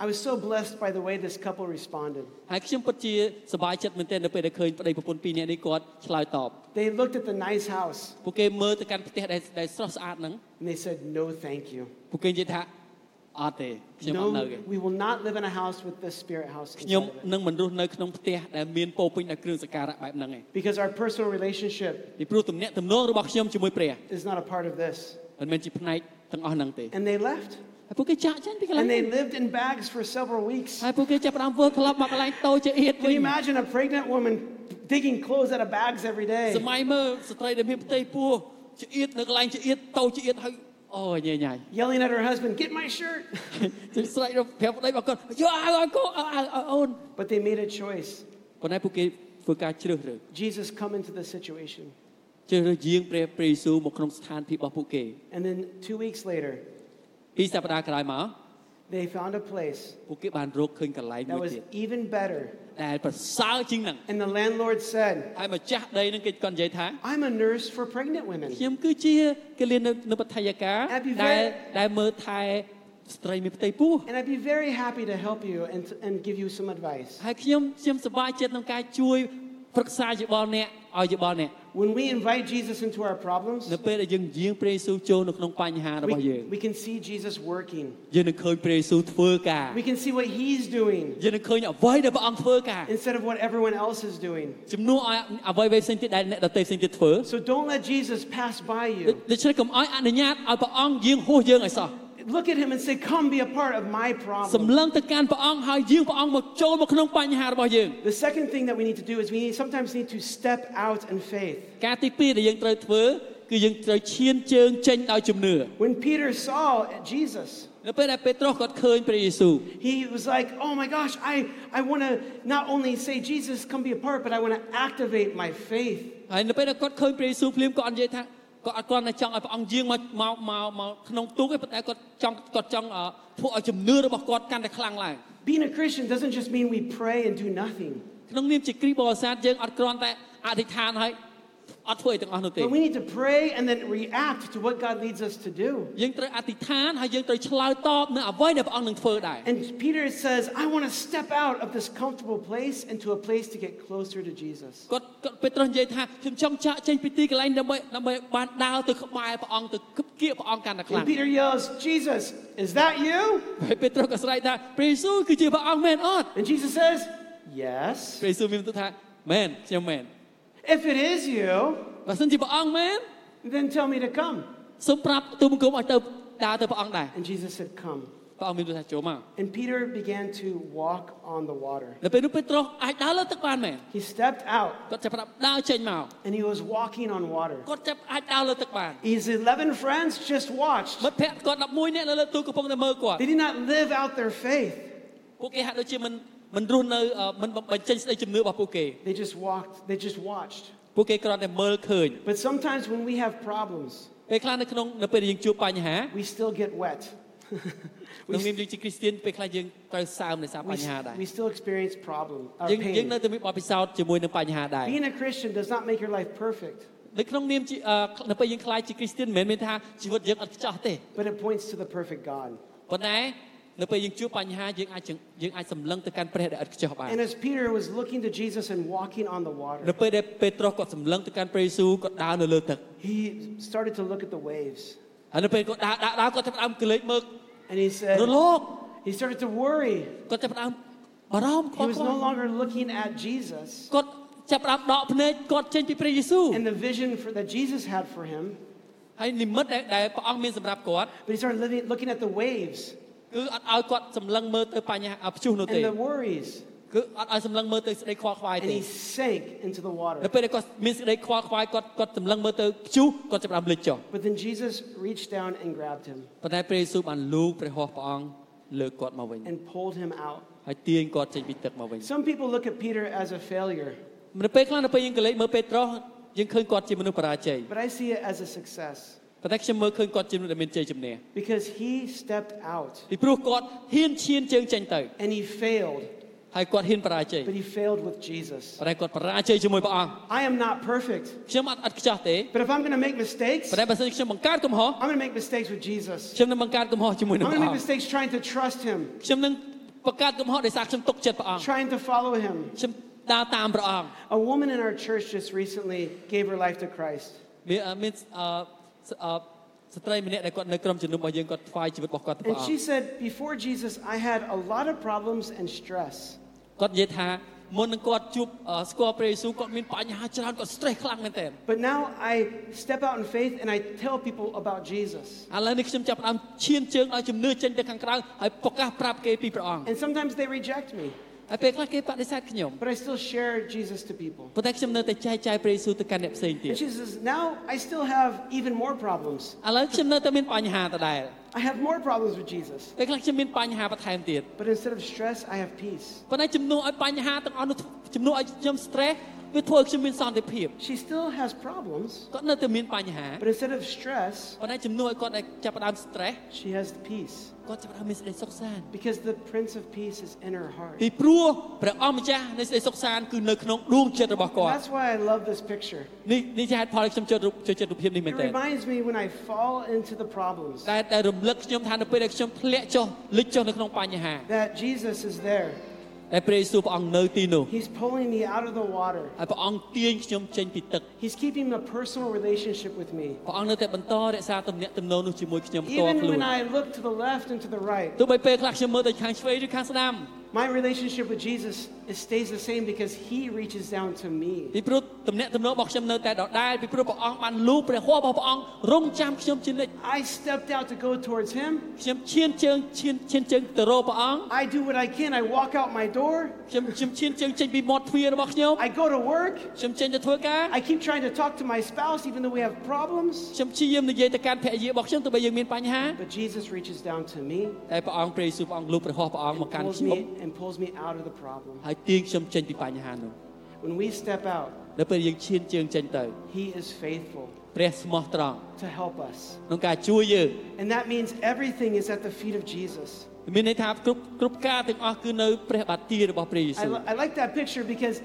[SPEAKER 1] I was so blessed by the way this couple responded.
[SPEAKER 2] ហើយខ្ញុំពិតជាសប្បាយចិត្តមែនទែននៅពេលដែលឃើញប្តីប្រពន្ធពីរនាក់នេះគាត់ឆ្លើយតប
[SPEAKER 1] They looked at the nice house
[SPEAKER 2] ពួកគេមើលទៅកាន់ផ្ទះដែលដែលស្រស់ស្អាតហ្នឹង
[SPEAKER 1] and they said, no, thank you.
[SPEAKER 2] ពួកគេនិយាយថាអត់ទេខ្ញុំអត់
[SPEAKER 1] No,
[SPEAKER 2] នៅទេ
[SPEAKER 1] we will not live in a house with this spirit house.
[SPEAKER 2] ខ្ញុំ
[SPEAKER 1] inside of it.
[SPEAKER 2] នឹងមិនរស់នៅក្នុងផ្ទះដែលមានពោរពេញដោយគ្រឿងសក្ការៈបែបហ្នឹងឯង
[SPEAKER 1] Because our personal relationship
[SPEAKER 2] ពីព្រោះទំនាក់ទំនងរបស់ខ្ញុំជាមួយព្រះ
[SPEAKER 1] is not a part of this.
[SPEAKER 2] មិនមែនជាផ្នែកទាំងអស់ហ្នឹងទេ
[SPEAKER 1] And they left.
[SPEAKER 2] ហើយពួកគេចាក់ចេញពីកន្លែង
[SPEAKER 1] And
[SPEAKER 2] ហ្នឹ
[SPEAKER 1] they
[SPEAKER 2] ង
[SPEAKER 1] lived in bags for several weeks.
[SPEAKER 2] ហើយពួកគេចាប់ផ្ដើមធ្វើក្លាប់មកកន្លែងតូចចង្អៀត
[SPEAKER 1] Can
[SPEAKER 2] វិញ
[SPEAKER 1] you imagine a pregnant woman digging clothes out of bags every
[SPEAKER 2] ស
[SPEAKER 1] day?
[SPEAKER 2] ម័យមើលស្ត្រីដែលមានផ្ទៃពោះចង្អៀតនៅកន្លែងចង្អៀតតូចចង្អៀតហើយ អូញ៉ៃញ៉ៃ
[SPEAKER 1] yelling at her husband, Get my shirt!
[SPEAKER 2] ជិះស្រែកប្រាប់ប្តីរបស់គាត់យកអាវឲ្យកូនអាវឲ្យអូន
[SPEAKER 1] But they made a choice.
[SPEAKER 2] ប៉ុន្តែពួកគេធ្វើការជ្រើសរើស
[SPEAKER 1] Jesus, come into the situation.
[SPEAKER 2] ជ្រើសរើសយាងព្រះព្រះយេស៊ូវមកក្នុងស្ថានភាពរបស់ពួកគេ
[SPEAKER 1] And then two weeks later,
[SPEAKER 2] ពីសប្តាហ៍ក្រោយមក
[SPEAKER 1] they found a place
[SPEAKER 2] ពួកគេបានរកឃើញកន្លែងមួ
[SPEAKER 1] that
[SPEAKER 2] យ
[SPEAKER 1] was
[SPEAKER 2] ទៀត
[SPEAKER 1] even better.
[SPEAKER 2] ដែលប្រសើរជាងហ្នឹង
[SPEAKER 1] And the landlord said,
[SPEAKER 2] ហើយម្ចាស់ដីហ្នឹងគេគាត់និយាយថា
[SPEAKER 1] I'm a nurse for pregnant women.
[SPEAKER 2] ខ្ញុំគឺជាកលៀននៅនៅបឋយការ
[SPEAKER 1] Have you
[SPEAKER 2] ដែល
[SPEAKER 1] very-
[SPEAKER 2] ដែលមើលថែស្ត្រីមានផ្ទៃពោះ
[SPEAKER 1] And I'd be very happy to help you and, and give you some advice.
[SPEAKER 2] ហើយខ្ញុំខ្ញុំសប្បាយចិត្តក្នុងការជួយប្រឹក្សាយោបល់អ្នកឲ្យយោបល់អ្នក
[SPEAKER 1] When we invite Jesus into our problems,
[SPEAKER 2] នៅពេលដែលយើងយាងព្រះយេស៊ូវចូលនៅក្នុងបញ្ហារបស់
[SPEAKER 1] we,
[SPEAKER 2] យើង
[SPEAKER 1] we can see Jesus working.
[SPEAKER 2] យើងនឹងឃើញព្រះយេស៊ូវធ្វើការ
[SPEAKER 1] We can see what he's doing
[SPEAKER 2] យើងនឹងឃើញអ្វីដែលព្រះអង្គធ្វើការ
[SPEAKER 1] instead of what everyone else is doing.
[SPEAKER 2] ជំនួសឲ្យអ្វីៗផ្សេងទៀតដែលអ្នកដទៃផ្សេងទៀតធ្វើ
[SPEAKER 1] So don't let Jesus pass by
[SPEAKER 2] ដូ
[SPEAKER 1] you.
[SPEAKER 2] ដូច្នេះកុំឲ្យអនុញ្ញាតឲ្យព្រះអង្គយាងហួសយើងឲ្យសោះ
[SPEAKER 1] Look at him and say, Come be a part of my
[SPEAKER 2] សម្
[SPEAKER 1] problem.
[SPEAKER 2] លឹងទៅកាន់ព្រះអង្គហើយយាងព្រះអង្គមកចូលមកក្នុងបញ្ហារបស់យើង
[SPEAKER 1] The second thing that we need to do is we need, sometimes need to step out in faith.
[SPEAKER 2] ការទី2ដែលយើងត្រូវធ្វើគឺយើងត្រូវឈានជើងចេញដោយជំនឿ
[SPEAKER 1] When Peter saw Jesus,
[SPEAKER 2] នៅពេលដែលពេត្រុសគាត់ឃើញព្រះយេស៊ូវ
[SPEAKER 1] he was like, Oh my gosh, I, I want to not only say, Jesus, come be a part, but I want to activate my faith.
[SPEAKER 2] ហើយនៅពេលដែលគាត់ឃើញព្រះយេស៊ូវភ្លាមគាត់និយាយថាគាត់អត់គ្រាន់តែចង់ឲ្យព្រះអង្គយាងមកមកមកមកក្នុងទូកទេប៉ុន្តែគាត់ចង់គាត់ចង់អឺធ្វើឲ្យជំនឿរបស់គាត់កាន់តែខ្លាំងឡើង
[SPEAKER 1] Being a Christian doesn't just mean we pray and do nothing,
[SPEAKER 2] ក្នុងនាមជាគ្រីស្ទបរិស័ទយើងអត់គ្រាន់តែអធិដ្ឋានហើយអត់ធ្វើអីទាំងអស់នោះទេ
[SPEAKER 1] but we need to pray and then react to what God leads us to do.
[SPEAKER 2] យើងត្រូវអធិដ្ឋានហើយយើងត្រូវឆ្លើយតបនឹងអ្វីដែលព្រះអង្គនឹងធ្វើដែរ
[SPEAKER 1] And Peter says, I want to step out of this comfortable place into a place to get closer to Jesus.
[SPEAKER 2] គាត់គាត់ពេត្រុសនិយាយថាខ្ញុំចង់ចាក់ចេញពីទីកន្លែងដើម្បីដើម្បីបានដើរទៅក្បែរព្រះអង្គទៅគប់គៀកព្រះអង្គកាន់តែខ្លាំង
[SPEAKER 1] And Peter yells, Jesus, is that you?
[SPEAKER 2] ហើយពេត្រុសក៏ស្រែកថាព្រះយេស៊ូវគឺជាព្រះអង្គមែនអត់
[SPEAKER 1] And Jesus says, Yes.
[SPEAKER 2] ព្រះយេស៊ូវមានបន្ទូលថាមែនខ្ញុំមែន
[SPEAKER 1] If it is you,
[SPEAKER 2] បើសិនជាព្រះអង្គមែន
[SPEAKER 1] then tell me to come.
[SPEAKER 2] សូមប្រាប់ទូលបង្គំឲ្យទៅដើរទៅព្រះអង្គដែរ
[SPEAKER 1] And Jesus said, Come.
[SPEAKER 2] ព្រះអង្គមានបន្ទូលថាចូលមក
[SPEAKER 1] And Peter began to walk on the water.
[SPEAKER 2] នៅពេលនោះពេត្រុសអាចដើរលើទឹកបានមែន
[SPEAKER 1] He stepped out
[SPEAKER 2] គាត់ចាប់ផ្ដើមដើរចេញមក
[SPEAKER 1] and he was walking on water.
[SPEAKER 2] គាត់ចាប់អាចដើរលើទឹកបាន
[SPEAKER 1] His 11 friends just watched.
[SPEAKER 2] មិត្តភ័ក្តិគាត់11នាក់នៅលើទូកកំពុងតែមើលគាត់
[SPEAKER 1] They did not live out their faith,
[SPEAKER 2] ពួកគេហាក់ដូចជាមិនមិនរស់នៅអឺមិនបញ្ចេញស្ដីជំនឿរបស់ពួកគេ
[SPEAKER 1] they just walked, they just watched.
[SPEAKER 2] ពួកគេគ្រាន់តែមើលឃើញ
[SPEAKER 1] But sometimes when we have problems,
[SPEAKER 2] ពេលខ្លះនៅក្នុងនៅពេលដែលយើងជួបបញ្ហា
[SPEAKER 1] we still get wet.
[SPEAKER 2] ក្នុង
[SPEAKER 1] we,
[SPEAKER 2] នាមយើងជាគ្រីស្ទានពេលខ្លះយើងត្រូវសើមនៃសារ
[SPEAKER 1] we,
[SPEAKER 2] បញ្ហាដែរ
[SPEAKER 1] we still experience problem, uh,
[SPEAKER 2] យើងយើង
[SPEAKER 1] pain.
[SPEAKER 2] នៅតែមានបទពិសោធន៍ជាមួយនឹងបញ្ហាដែរ
[SPEAKER 1] Being a Christian does not make your life perfect,
[SPEAKER 2] នៅក្នុងនាមជាអឺនៅពេលយើងខ្លាចជាគ្រីស្ទានមិនមែនមានថាជីវិតយើងអត់ខ្ចោះទេ
[SPEAKER 1] but it points to the perfect God.
[SPEAKER 2] ប៉ុន្តែនៅពេលយើងជួបបញ្ហាយើងអាចយើងយើងអាចសម្លឹងទៅកាន់ព្រះដែលអត់ខ្ចោះបាន
[SPEAKER 1] And as Peter was looking to Jesus and walking on the
[SPEAKER 2] នៅ
[SPEAKER 1] water,
[SPEAKER 2] ពេលដែលពេត្រុសគាត់សម្លឹងទៅកាន់ព្រះយេស៊ូវគាត់ដើរនៅលើទឹក
[SPEAKER 1] he started to look at the waves.
[SPEAKER 2] ហើយនៅពេលគាត់ដើរដើរដើរគាត់ចាប់ផ្ដើមកលេចមើល
[SPEAKER 1] And he said,
[SPEAKER 2] រលក
[SPEAKER 1] He started to worry.
[SPEAKER 2] គាត់ចាប់ផ្ដើមបារម្ភខ្វ
[SPEAKER 1] He
[SPEAKER 2] ល់
[SPEAKER 1] was
[SPEAKER 2] ខ្វា
[SPEAKER 1] no
[SPEAKER 2] យ
[SPEAKER 1] longer looking at Jesus
[SPEAKER 2] គាត់ចាប់ផ្ដើមដកភ្នែកគាត់ចេញពីព្រះយេស៊ូវ
[SPEAKER 1] and the vision for, that Jesus had for him,
[SPEAKER 2] ហើយនិមិត្តដែលដែលព្រះអង្គមានសម្រាប់គាត់
[SPEAKER 1] but he started living, looking at the waves
[SPEAKER 2] គឺអត់ឲ្យគាត់សម្លឹងមើលទៅបញ្ហាអព្យុះនោះទេ
[SPEAKER 1] and the worries.
[SPEAKER 2] គឺអត់ឲ្យសម្លឹងមើលទៅសេចក្តីខ្វល់ខ្វាយ
[SPEAKER 1] And
[SPEAKER 2] ទេ
[SPEAKER 1] he sank into the
[SPEAKER 2] នៅ
[SPEAKER 1] water.
[SPEAKER 2] ពេលដែលគាត់មានសេចក្តីខ្វល់ខ្វាយគាត់គាត់សម្លឹងមើលទៅព្យុះគាត់ចាប់ផ្ដើមលេចចុះ
[SPEAKER 1] But then Jesus reached down and grabbed him
[SPEAKER 2] ប៉ុន្តែព្រះយេស៊ូវបានលូកព្រះហស្ថព្រះអង្គលើកគាត់មកវិញ
[SPEAKER 1] and pulled him out.
[SPEAKER 2] ហើយទាញគាត់ចេញពីទឹកមកវិញ
[SPEAKER 1] Some people look at Peter as a failure,
[SPEAKER 2] នៅពេលខ្លះនៅពេលយើងកលេចមើលពេត្រុសយើងឃើញគាត់ជាមនុស្សបរាជ័យ
[SPEAKER 1] but I see it as a success
[SPEAKER 2] ប៉ុន្តែខ្ញុំមើលឃើញគាត់ជាមនុស្សដែលមានជ័យជំនះ
[SPEAKER 1] because he stepped out
[SPEAKER 2] ពីព្រោះគាត់ហ៊ានឈានជើងចេញទៅ
[SPEAKER 1] and he failed,
[SPEAKER 2] ហើយគាត់ហ៊ានបរាជ័យ
[SPEAKER 1] but he failed with Jesus.
[SPEAKER 2] ប៉ុន្តែគាត់បរាជ័យជាមួយព្រះអង្គ
[SPEAKER 1] I am not perfect,
[SPEAKER 2] ខ្ញុំអត់អត់ខ្ចោះទេ
[SPEAKER 1] but if I'm going to make mistakes,
[SPEAKER 2] ប៉ុន្តែបើសិនជាខ្ញុំបង្កើតកំហុស
[SPEAKER 1] I'm going to make mistakes with Jesus.
[SPEAKER 2] ខ្ញុំនឹងបង្កើតកំហុសជាមួយនឹង
[SPEAKER 1] I'm
[SPEAKER 2] ព្រះ
[SPEAKER 1] going to make
[SPEAKER 2] អង្គ
[SPEAKER 1] mistakes trying to trust him.
[SPEAKER 2] ខ្ញុំនឹងបង្កើតកំហុសដោយសារខ្ញុំទុកចិត្តព្រះអង្គ
[SPEAKER 1] trying to follow him.
[SPEAKER 2] ខ្ញុំដើរតាមព្រះអង្គ
[SPEAKER 1] A woman in our church just recently gave her life to Christ.
[SPEAKER 2] មានអឺមានអឺសអឺស្ត្រីម្នាក់ដែលគាត់នៅក្រុមជំនុំរបស់យើងគាត់ថ្វាយជីវិតរបស់គាត់ទៅព្រះ
[SPEAKER 1] And
[SPEAKER 2] អង្គ
[SPEAKER 1] she said, Before Jesus, I had a lot of problems and stress.
[SPEAKER 2] គាត់និយាយថាមុននឹងគាត់ជួបអឺស្គាល់ព្រះយេស៊ូវគាត់មានបញ្ហាច្រើនគាត់ stress ខ្លាំងមែនទែន
[SPEAKER 1] But now I step out in faith and I tell people about Jesus.
[SPEAKER 2] ឥឡូវនេះខ្ញុំចាប់ផ្ដើមឈានជើងឲ្យជំនឿចេញទៅខាងក្រៅហើយប្រកាសប្រាប់គេពីព្រះអង្គ
[SPEAKER 1] And sometimes they reject me.
[SPEAKER 2] ហើយពេលខ្លះគេបដិសេធខ្ញុំ
[SPEAKER 1] but I still share Jesus to people.
[SPEAKER 2] ប៉ុន្តែខ្ញុំនៅតែចែកចាយព្រះយេស៊ូវទៅកាន់អ្នកផ្សេងទៀត
[SPEAKER 1] And she says, now I still have even more problems.
[SPEAKER 2] ឥឡូវខ្ញុំនៅតែមានបញ្ហាដដែល
[SPEAKER 1] I have more problems with Jesus.
[SPEAKER 2] ពេលខ្លះខ្ញុំមានបញ្ហាបន្ថែមទៀត
[SPEAKER 1] But instead of stress, I have peace.
[SPEAKER 2] ប៉ុន្តែជំនួសឲ្យបញ្ហាទាំងអស់នោះជំនួសឲ្យខ្ញុំ stress វាធ្វើឲ្យខ្ញុំមានសន្តិភាព
[SPEAKER 1] She still has problems,
[SPEAKER 2] គាត់នៅតែមានបញ្ហា
[SPEAKER 1] but instead of stress,
[SPEAKER 2] ប៉ុន្តែជំនួសឲ្យគាត់ដែលចាប់ផ្ដើម stress
[SPEAKER 1] she has peace.
[SPEAKER 2] គាត់ចាប់ផ្ដើមមានសេចក្តីសុខសាន្ត
[SPEAKER 1] Because the Prince of Peace is in her heart.
[SPEAKER 2] ពីព្រោះព្រះអង្គម្ចាស់នៃសេចក្តីសុខសាន្តគឺនៅក្នុងដួងចិត្តរបស់គាត់
[SPEAKER 1] That's why I love this picture.
[SPEAKER 2] នេះនេះជាហេតុផលដែលខ្ញុំចូលរូបចូលចិត្តរូបភាពនេះមែ
[SPEAKER 1] It
[SPEAKER 2] នទែន
[SPEAKER 1] reminds me when I fall into the problems
[SPEAKER 2] តែតែរំលឹកខ្ញុំថានៅពេលដែលខ្ញុំធ្លាក់ចុះលិចចុះនៅក្នុងបញ្ហា
[SPEAKER 1] that Jesus is there.
[SPEAKER 2] តែលព្រះយេស៊ូវព្រះអង្គនៅទីនោះ
[SPEAKER 1] He's pulling me out of the water.
[SPEAKER 2] ហើយព្រះអង្គទាញខ្ញុំចេញពីទឹក
[SPEAKER 1] He's keeping a personal relationship with me.
[SPEAKER 2] ព្រះអង្គនៅតែបន្តរក្សាទំនាក់ទំនងនោះជាមួយខ្ញុំផ្ទាល់
[SPEAKER 1] Even
[SPEAKER 2] ខ្លួន
[SPEAKER 1] when I look to the left and to the right,
[SPEAKER 2] ទោះបីពេលខ្លះខ្ញុំមើលទៅខាងឆ្វេងឬខាងស្ដាំ
[SPEAKER 1] my relationship with Jesus it stays the same because he reaches down to me.
[SPEAKER 2] ពីព្រោះទំនាក់ទំនងរបស់ខ្ញុំនៅតែដដែលពីព្រោះព្រះអង្គបានលូបព្រះហស្តរបស់ព្រះអង្គរងចាំខ្ញុំជានិច្ច
[SPEAKER 1] I stepped out to go towards him.
[SPEAKER 2] ខ្ញុំឈានជើងឈានឈានជើងទៅរកព្រះអង្គ
[SPEAKER 1] I do what I can. I walk out my door.
[SPEAKER 2] ខ្ញុំខ្ញុំឈានជើងចេញពីមាត់ទ្វាររបស់ខ្ញុំ
[SPEAKER 1] I go to work.
[SPEAKER 2] ខ្ញុំចេញទៅធ្វើការ
[SPEAKER 1] I keep trying to talk to my spouse even though we have problems.
[SPEAKER 2] ខ្ញុំព្យាយាមនិយាយទៅកាន់ភរិយារបស់ខ្ញុំទោះបីយើងមានបញ្ហា
[SPEAKER 1] But Jesus reaches down to me
[SPEAKER 2] តែព្រះអង្គព្រះយេស៊ូវព្រះអង្គលូបព្រះហស្តព្រះអង្គមកកាន់
[SPEAKER 1] pulls
[SPEAKER 2] ខ្ញុំ
[SPEAKER 1] me, and pulls me out of the problem.
[SPEAKER 2] ហើយទាញខ្ញុំចេញពីបញ្ហានោះ
[SPEAKER 1] When we step out,
[SPEAKER 2] នៅពេលយើងឈានជើងចេញទៅ
[SPEAKER 1] he is faithful
[SPEAKER 2] ព្រះស្មោះត្រង់
[SPEAKER 1] to help us.
[SPEAKER 2] ក្នុងការជួយយើង
[SPEAKER 1] And that means everything is at the feet of Jesus.
[SPEAKER 2] មានន័យថាគ្រប់គ្រប់ការទាំងអស់គឺនៅព្រះបាទារបស់ព្រះយេ
[SPEAKER 1] I,
[SPEAKER 2] ស៊ូវ
[SPEAKER 1] li- I like that picture because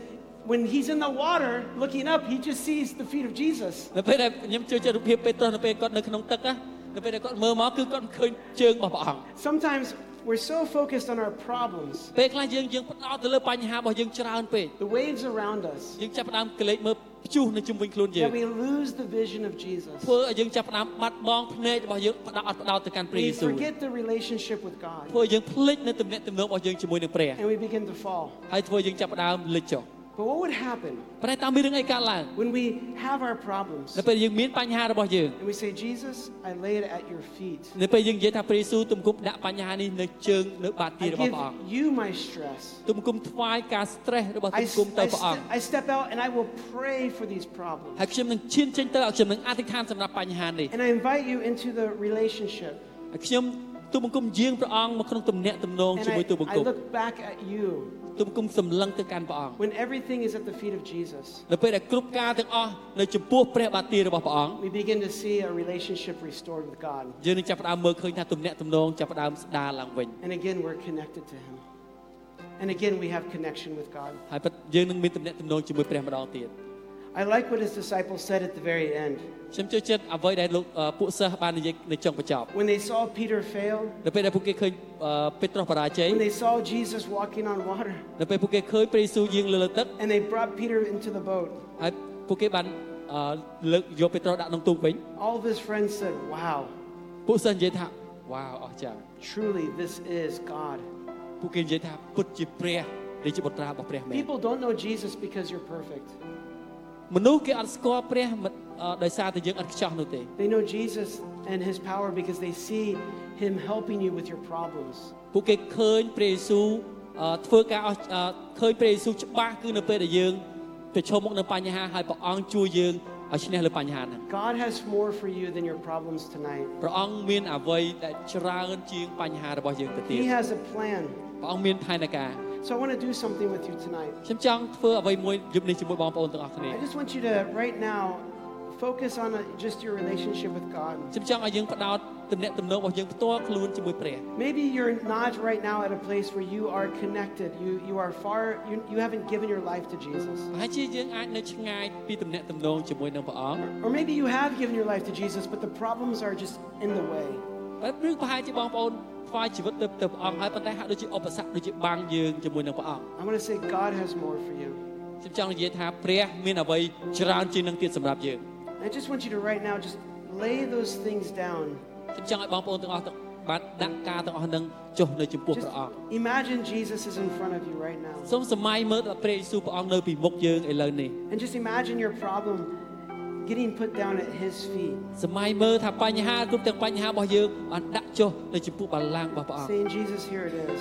[SPEAKER 1] when he's in the water looking up, he just sees the feet of Jesus.
[SPEAKER 2] នៅពេលដែលខ្ញុំជួយចិត្តរូបភាពពេត្រុសនៅពេលគាត់នៅក្នុងទឹកណានៅពេលដែលគាត់មើលមកគឺគាត់មិនឃើញជើងរបស់ព្រះអង្គ
[SPEAKER 1] Sometimes we're so focused on our problems,
[SPEAKER 2] ពេលខ្លះយើងយើងផ្ដោតទៅលើបញ្ហារបស់យើងច្រើនពេក
[SPEAKER 1] the waves around us,
[SPEAKER 2] យើងចាប់ផ្ដើមកលេចមើលព្យុះនៅជុំវិញខ្លួនយើង
[SPEAKER 1] that we lose the vision of Jesus.
[SPEAKER 2] ធ្វើឲ្យយើងចាប់ផ្ដើមបាត់បង់ភ្នែករបស់យើងផ្ដោតអត់ផ្ដោតទៅកាន់ព្រះយេ
[SPEAKER 1] We
[SPEAKER 2] ស៊ូវ
[SPEAKER 1] forget the relationship with God
[SPEAKER 2] ធ្វើឲ្យយើងភ្លេចនៅទំនាក់ទំនងរបស់យើងជាមួយនឹងព្រះ
[SPEAKER 1] and we begin to fall.
[SPEAKER 2] ហើយធ្វើឲ្យយើងចាប់ផ្ដើមលិចចុះ
[SPEAKER 1] But what would happen
[SPEAKER 2] ប៉ុន្តែតាមមានរឿងអីកើតឡើង
[SPEAKER 1] when we have our problems
[SPEAKER 2] នៅពេលយើងមានបញ្ហារបស់យើង
[SPEAKER 1] and we say, Jesus, I lay it at your feet?
[SPEAKER 2] នៅពេលយើងនិយាយថាព្រះយេស៊ូវទំគប់ដាក់បញ្ហានេះនៅជើងនៅបាតទី
[SPEAKER 1] I
[SPEAKER 2] របស់ព្រះអង្គ
[SPEAKER 1] give you my stress.
[SPEAKER 2] ទំគុំថ្វាយការ stress របស់
[SPEAKER 1] I,
[SPEAKER 2] ទំ
[SPEAKER 1] s-
[SPEAKER 2] គុំទៅ
[SPEAKER 1] I
[SPEAKER 2] ព្រះអង្គ
[SPEAKER 1] st- I step out and I will pray for these problems.
[SPEAKER 2] ហើយខ្ញុំនឹងឈានចេញទៅឲ្យខ្ញុំនឹងអធិដ្ឋានសម្រាប់បញ្ហានេះ
[SPEAKER 1] And I invite you into the relationship.
[SPEAKER 2] ហើយខ្ញុំទូលបង្គំយាងព្រះអង្គមកក្នុងទំនាក់ទំនង
[SPEAKER 1] And
[SPEAKER 2] ជាមួយទូលប
[SPEAKER 1] I, I
[SPEAKER 2] ង្គំ
[SPEAKER 1] look back at you
[SPEAKER 2] ទូលបង្គំសម្លឹងទៅកាន់ព្រះអង្គ
[SPEAKER 1] when everything is at the feet of Jesus.
[SPEAKER 2] នៅពេលដែលគ្រប់ការទាំងអស់នៅចំពោះព្រះបាទីរបស់ព្រះអង្គ
[SPEAKER 1] We begin to see a relationship restored with God.
[SPEAKER 2] យើងនឹងចាប់ផ្ដើមមើលឃើញថាទំនាក់ទំនងចាប់ផ្ដើមស្ដារឡើងវិញ
[SPEAKER 1] And again, we're connected to Him. And again, we have connection with God.
[SPEAKER 2] ហើយពិតយើងនឹងមានទំនាក់ទំនងជាមួយព្រះម្ដងទៀត
[SPEAKER 1] I like what His disciples said at the very end.
[SPEAKER 2] ខ្ញុំជឿចិត្តអ្វីដែលលោកអឺពួកសិស្សបាននិយាយនៅចុងបញ្ចប់
[SPEAKER 1] When they saw Peter fail,
[SPEAKER 2] នៅពេលដែលពួកគេឃើញអឺពេត្រុសបរាជ័យ
[SPEAKER 1] when they saw Jesus walking on water,
[SPEAKER 2] នៅពេលពួកគេឃើញព្រះយេស៊ូវយាងលើលើទឹក
[SPEAKER 1] and they brought Peter into the boat,
[SPEAKER 2] ហើយពួកគេបានអឺលើកយកពេត្រុសដាក់ក្នុងទូកវិញ
[SPEAKER 1] all of his friends said, Wow,
[SPEAKER 2] ពួកសិស្សនិយាយថាវ៉ាវអស្ចារ្យ
[SPEAKER 1] truly, this is God.
[SPEAKER 2] ពួកគេនិយាយថាពុតជាព្រះរាជបុត្រារបស់ព្រះមែន
[SPEAKER 1] People don't know Jesus because you're perfect.
[SPEAKER 2] មនុស្សគេអត់ស្គាល់ព្រះមិនអឺដោយសារតែយើងអត់ខ្ចោះនោះទេ
[SPEAKER 1] They know Jesus and his power because they see him helping you with your problems.
[SPEAKER 2] ពួកគេឃើញព្រះយេស៊ូវអឺធ្វើការអស្អឺឃើញព្រះយេស៊ូវច្បាស់គឺនៅពេលដែលយើងប្រឈមមុខនឹងបញ្ហាហើយព្រះអង្គជួយយើងឲ្យឈ្នះលើបញ្ហាហ្នឹង
[SPEAKER 1] God has more for you than your problems tonight.
[SPEAKER 2] ព្រះអង្គមានអ្វីដែលច្រើនជាងបញ្ហារបស់យើងទៅទៀត
[SPEAKER 1] He has a plan.
[SPEAKER 2] ព្រះអង្គមានផែនការ
[SPEAKER 1] So I want to do something with you tonight.
[SPEAKER 2] ខ្ញុំចង់ធ្វើអ្វីមួយយប់នេះជាមួយបងប្អូនទាំងអស់គ្នា
[SPEAKER 1] I just want you to, right now, focus on uh just your relationship with God.
[SPEAKER 2] ខ្ញុំចង់ឲ្យយើងផ្ដោតទំនាក់ទំនងរបស់យើងផ្ទាល់ខ្លួនជាមួយព្រះ
[SPEAKER 1] Maybe you're not right now at a place where you are connected. You, you are far, you, you haven't given your life to Jesus.
[SPEAKER 2] ប្រហើយជាយើងអាចនៅឆ្ងាយពីទំនាក់ទំនងជាមួយនឹងព្រះអង្គ
[SPEAKER 1] Or maybe you have given your life to Jesus, but the problems are just in the way.
[SPEAKER 2] ហើយឬប្រហែលជាបងប្អូនថ្វាយជីវិតទៅទៅព្រះអង្គហើយប៉ុន្តែហាក់ដូចជាឧបសគ្គដូចជាបាំងយើងជាមួយនឹងព្រះអង្គ
[SPEAKER 1] I want to say, God has more for you.
[SPEAKER 2] ខ្ញុំចង់និយាយថាព្រះមានអ្វីច្រើនជាងនឹងទៀតសម្រាប់យើង
[SPEAKER 1] I just want you to, right now, just lay those things down.
[SPEAKER 2] ខ្ញុំចង់ឲ្យបងប្អូនទាំងអស់ទាំងបានដាក់ការទាំងអស់ហ្នឹងចុះនៅចំពោះ
[SPEAKER 1] Just
[SPEAKER 2] ព្រះអង្គ
[SPEAKER 1] imagine Jesus is in front of you right now.
[SPEAKER 2] សូមសម័យមើលដល់ព្រះយេស៊ូវព្រះអង្គនៅពីមុខយើងឥឡូវនេះ
[SPEAKER 1] And just imagine your problem getting put down at his feet,
[SPEAKER 2] សម័យមើលថាបញ្ហាគ្រប់ទាំងបញ្ហារបស់យើងបានដាក់ចុះនៅចំពោះបល្ល័ង្ករបស់ព្រះអង្គ
[SPEAKER 1] saying, Jesus, here it is.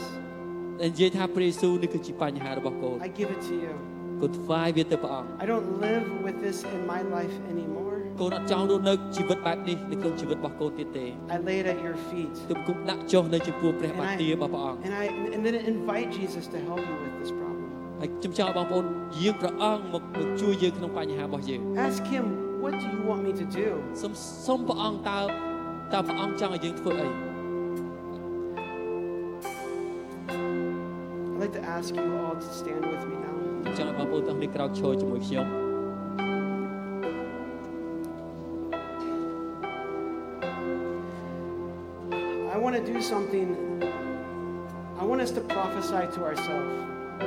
[SPEAKER 2] ដែលនិយាយថាព្រះយេស៊ូវនេះគឺជាបញ្ហារបស់កូន
[SPEAKER 1] I give it to you.
[SPEAKER 2] កូនថ្វាយវាទៅព្រះអង្គ
[SPEAKER 1] I don't live with this in my life anymore.
[SPEAKER 2] កូនអត់ចង់រស់នៅជីវិតបែបនេះនៅក្នុងជីវិតរបស់កូនទៀតទេ
[SPEAKER 1] I lay it at your feet.
[SPEAKER 2] ទុំគុំដាក់ចុះនៅចំពោះព្រះបា
[SPEAKER 1] And
[SPEAKER 2] ទ
[SPEAKER 1] I,
[SPEAKER 2] ទារបស់ព្រះអង្គ
[SPEAKER 1] and I and then invite Jesus to help you with this problem.
[SPEAKER 2] ហើយខ្ញុំចង់ឲ្យបងប្អូនយាងព្រះអង្គមកមកជួយយើងក្នុងបញ្ហារបស់យើង
[SPEAKER 1] Ask him, what do you want me to do?
[SPEAKER 2] សូមសូមព្រះអង្គតើតើព្រះអង្គចង់ឲ្យយើងធ្វើអី
[SPEAKER 1] I'd like to ask you all to stand with me now.
[SPEAKER 2] ខ្ញុំចង់ឲ្យបងប្អូនទាំងនេះក្រោកឈរជាមួយខ្ញុំ
[SPEAKER 1] I want to do something. I want us to prophesy to ourselves.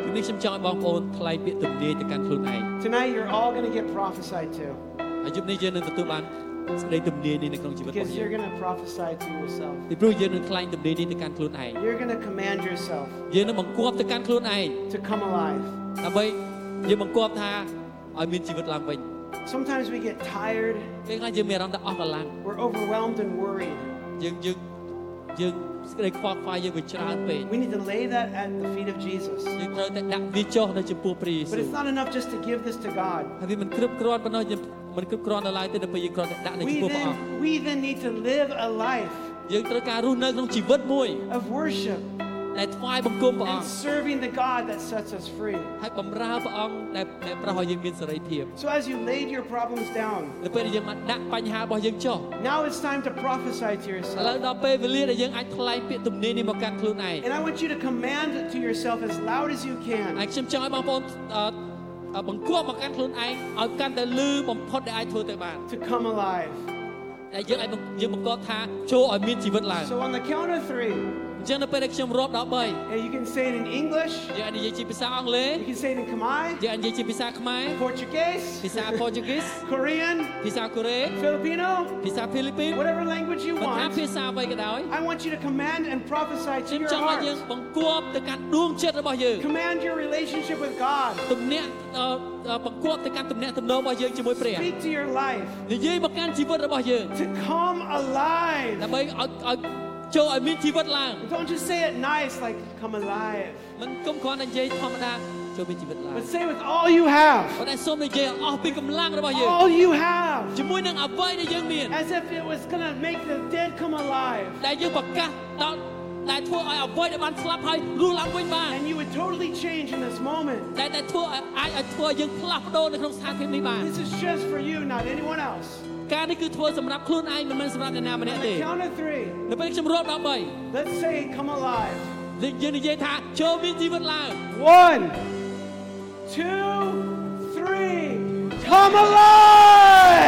[SPEAKER 2] ពីនេះខ្ញុំចង់ឲ្យបងប្អូនថ្លែងពាក្យទំនាយទៅកាន់ខ្លួនឯង
[SPEAKER 1] Tonight, you're all going to get prophesied to
[SPEAKER 2] ហើយយប់នេះយើងនឹងទទួលបានសេចក្តីទំនាយនេះនៅក្នុងជីវិតរបស់
[SPEAKER 1] because
[SPEAKER 2] យើ
[SPEAKER 1] you're
[SPEAKER 2] ង
[SPEAKER 1] going to prophesy to yourself.
[SPEAKER 2] ពីព្រោះយើងនឹងថ្លែងទំនាយនេះទៅកាន់ខ្លួនឯង
[SPEAKER 1] You're going to command yourself
[SPEAKER 2] យើងនឹងបង្គាប់ទៅកាន់ខ្លួនឯង
[SPEAKER 1] to come alive.
[SPEAKER 2] ដើម្បីយើងបង្គាប់ថាឲ្យមានជីវិតឡើងវិញ
[SPEAKER 1] Sometimes we get tired,
[SPEAKER 2] ពេលខ្លះយើងមានអារម្មណ៍ថាអស់កម្លាំង
[SPEAKER 1] we're overwhelmed and worried.
[SPEAKER 2] យើងយើងយើងសេចក្តីខ្វល់ខ្វាយយើងវាច្រើនពេក
[SPEAKER 1] We need to lay that at the feet of Jesus.
[SPEAKER 2] យើងត្រូវតែដាក់វាចុះនៅចំពោះព្រះយេស៊ូ
[SPEAKER 1] But
[SPEAKER 2] វ
[SPEAKER 1] it's not enough just to give this to God.
[SPEAKER 2] ហើយវាមិនគ្រប់គ្រាន់ប៉ុណ្ណោះយើងមិនគ្រប់គ្រាន់ដល់ឡើយទេដល់ពេលយើងគ្រាន់តែដាក់នៅចំ
[SPEAKER 1] We
[SPEAKER 2] ពោះព្រះអង្គ
[SPEAKER 1] then, we then need to live a life
[SPEAKER 2] យើងត្រូវការរស់នៅក្នុងជីវិតមួយ
[SPEAKER 1] of worship
[SPEAKER 2] ដែលថ្វាយបង្គំព្រះអ
[SPEAKER 1] and
[SPEAKER 2] ង្គ
[SPEAKER 1] serving the God that sets us free.
[SPEAKER 2] ហើយបម្រើព្រះអង្គដែលដែលប្រោសឲ្យយើងមានសេរីភាព
[SPEAKER 1] So as you laid your problems down,
[SPEAKER 2] ដល់ពេលដែលយើងមកដាក់បញ្ហារបស់យើងចុះ
[SPEAKER 1] now it's time to prophesy to
[SPEAKER 2] ឥឡូវ
[SPEAKER 1] yourself.
[SPEAKER 2] ដល់ពេលវេលាដែលយើងអាចថ្លែងពាក្យទំនាយនេះមកកាន់ខ្លួនឯង
[SPEAKER 1] And I want you to command to yourself as loud as you
[SPEAKER 2] ហើ
[SPEAKER 1] can.
[SPEAKER 2] យខ្ញុំចង់ឲ្យបងប្អូនអឺអឺបង្គាប់មកកាន់ខ្លួនឯងឲ្យកាន់តែលឺបំផុតដែលអាចធ្វើទៅបាន
[SPEAKER 1] To come alive.
[SPEAKER 2] តែយើងអាចបង្យើងបង្គាប់ថាចូលឲ្យមានជីវិតឡើង
[SPEAKER 1] So on the count of three,
[SPEAKER 2] អញ្ចឹងនៅពេលដែលខ្ញុំរាប់ដល់3
[SPEAKER 1] and you can say it in English,
[SPEAKER 2] យើងអាចនិយាយជាភាសាអង់គ្លេស
[SPEAKER 1] you can say it in Khmer,
[SPEAKER 2] យើងអាចនិយាយជាភាសាខ្មែរ
[SPEAKER 1] Portuguese,
[SPEAKER 2] ភាសាប៉ូទុយហ្គីស
[SPEAKER 1] Korean,
[SPEAKER 2] ភាសាកូរ៉េ
[SPEAKER 1] Filipino,
[SPEAKER 2] ភាសាហ្វីលីពីន
[SPEAKER 1] whatever language you
[SPEAKER 2] ប៉ុន្តែ
[SPEAKER 1] want.
[SPEAKER 2] ភាសាអ្វីក៏ដោយ
[SPEAKER 1] I want you to command and prophesy
[SPEAKER 2] ខ្ញុំ
[SPEAKER 1] to your
[SPEAKER 2] ចង់ឲ្យយើង
[SPEAKER 1] heart.
[SPEAKER 2] បង្គាប់ទៅកាន់ដួងចិត្តរបស់យើង
[SPEAKER 1] Command your relationship with God.
[SPEAKER 2] ទំនាក់អឺអឺបង្គាប់ទៅកាន់ទំនាក់ទំនងរបស់យើងជាមួយព្រះ
[SPEAKER 1] Speak to your life
[SPEAKER 2] និយាយមកកាន់ជីវិតរបស់យើង
[SPEAKER 1] to come alive.
[SPEAKER 2] ដើម្បីឲ្យឲ្យចូលឲ្យមានជីវិតឡើង
[SPEAKER 1] Don't just say it nice, like come alive,
[SPEAKER 2] មិនគុំគ្រាន់តែនិយាយធម្មតាចូលមានជីវិតឡើង
[SPEAKER 1] but say it with all you have.
[SPEAKER 2] ប៉ុន្តែសូមនិយាយឲ្យអស់ពីកម្លាំងរបស់យើង
[SPEAKER 1] All you have.
[SPEAKER 2] ជាមួយនឹងអ្វីដែលយើងមាន
[SPEAKER 1] As if it was gonna make the dead come alive.
[SPEAKER 2] ដែលយើងប្រកាសដល់ដែលធ្វើឲ្យអ្វីដែលបានស្លាប់ហើយរស់ឡើងវិញបាន
[SPEAKER 1] And you would totally change in this moment.
[SPEAKER 2] ដែលតែធ្វើឲ្យអាចឲ្យធ្វើឲ្យយើងផ្លាស់ប្ដូរនៅក្នុងស្ថានភាពនេះបាន
[SPEAKER 1] This is just for you, not anyone else.
[SPEAKER 2] ការនេះគឺធ្វើសម្រាប់ខ្លួនឯងមិនមែនសម្រាប់អ្នកណាម្នាក់ទេ
[SPEAKER 1] Count of three.
[SPEAKER 2] នៅពេលខ្ញុំរាប់ដល់3
[SPEAKER 1] Let's say come alive.
[SPEAKER 2] យើងនិយាយថាចូលមានជីវិតឡើង
[SPEAKER 1] One, two, three. Come alive!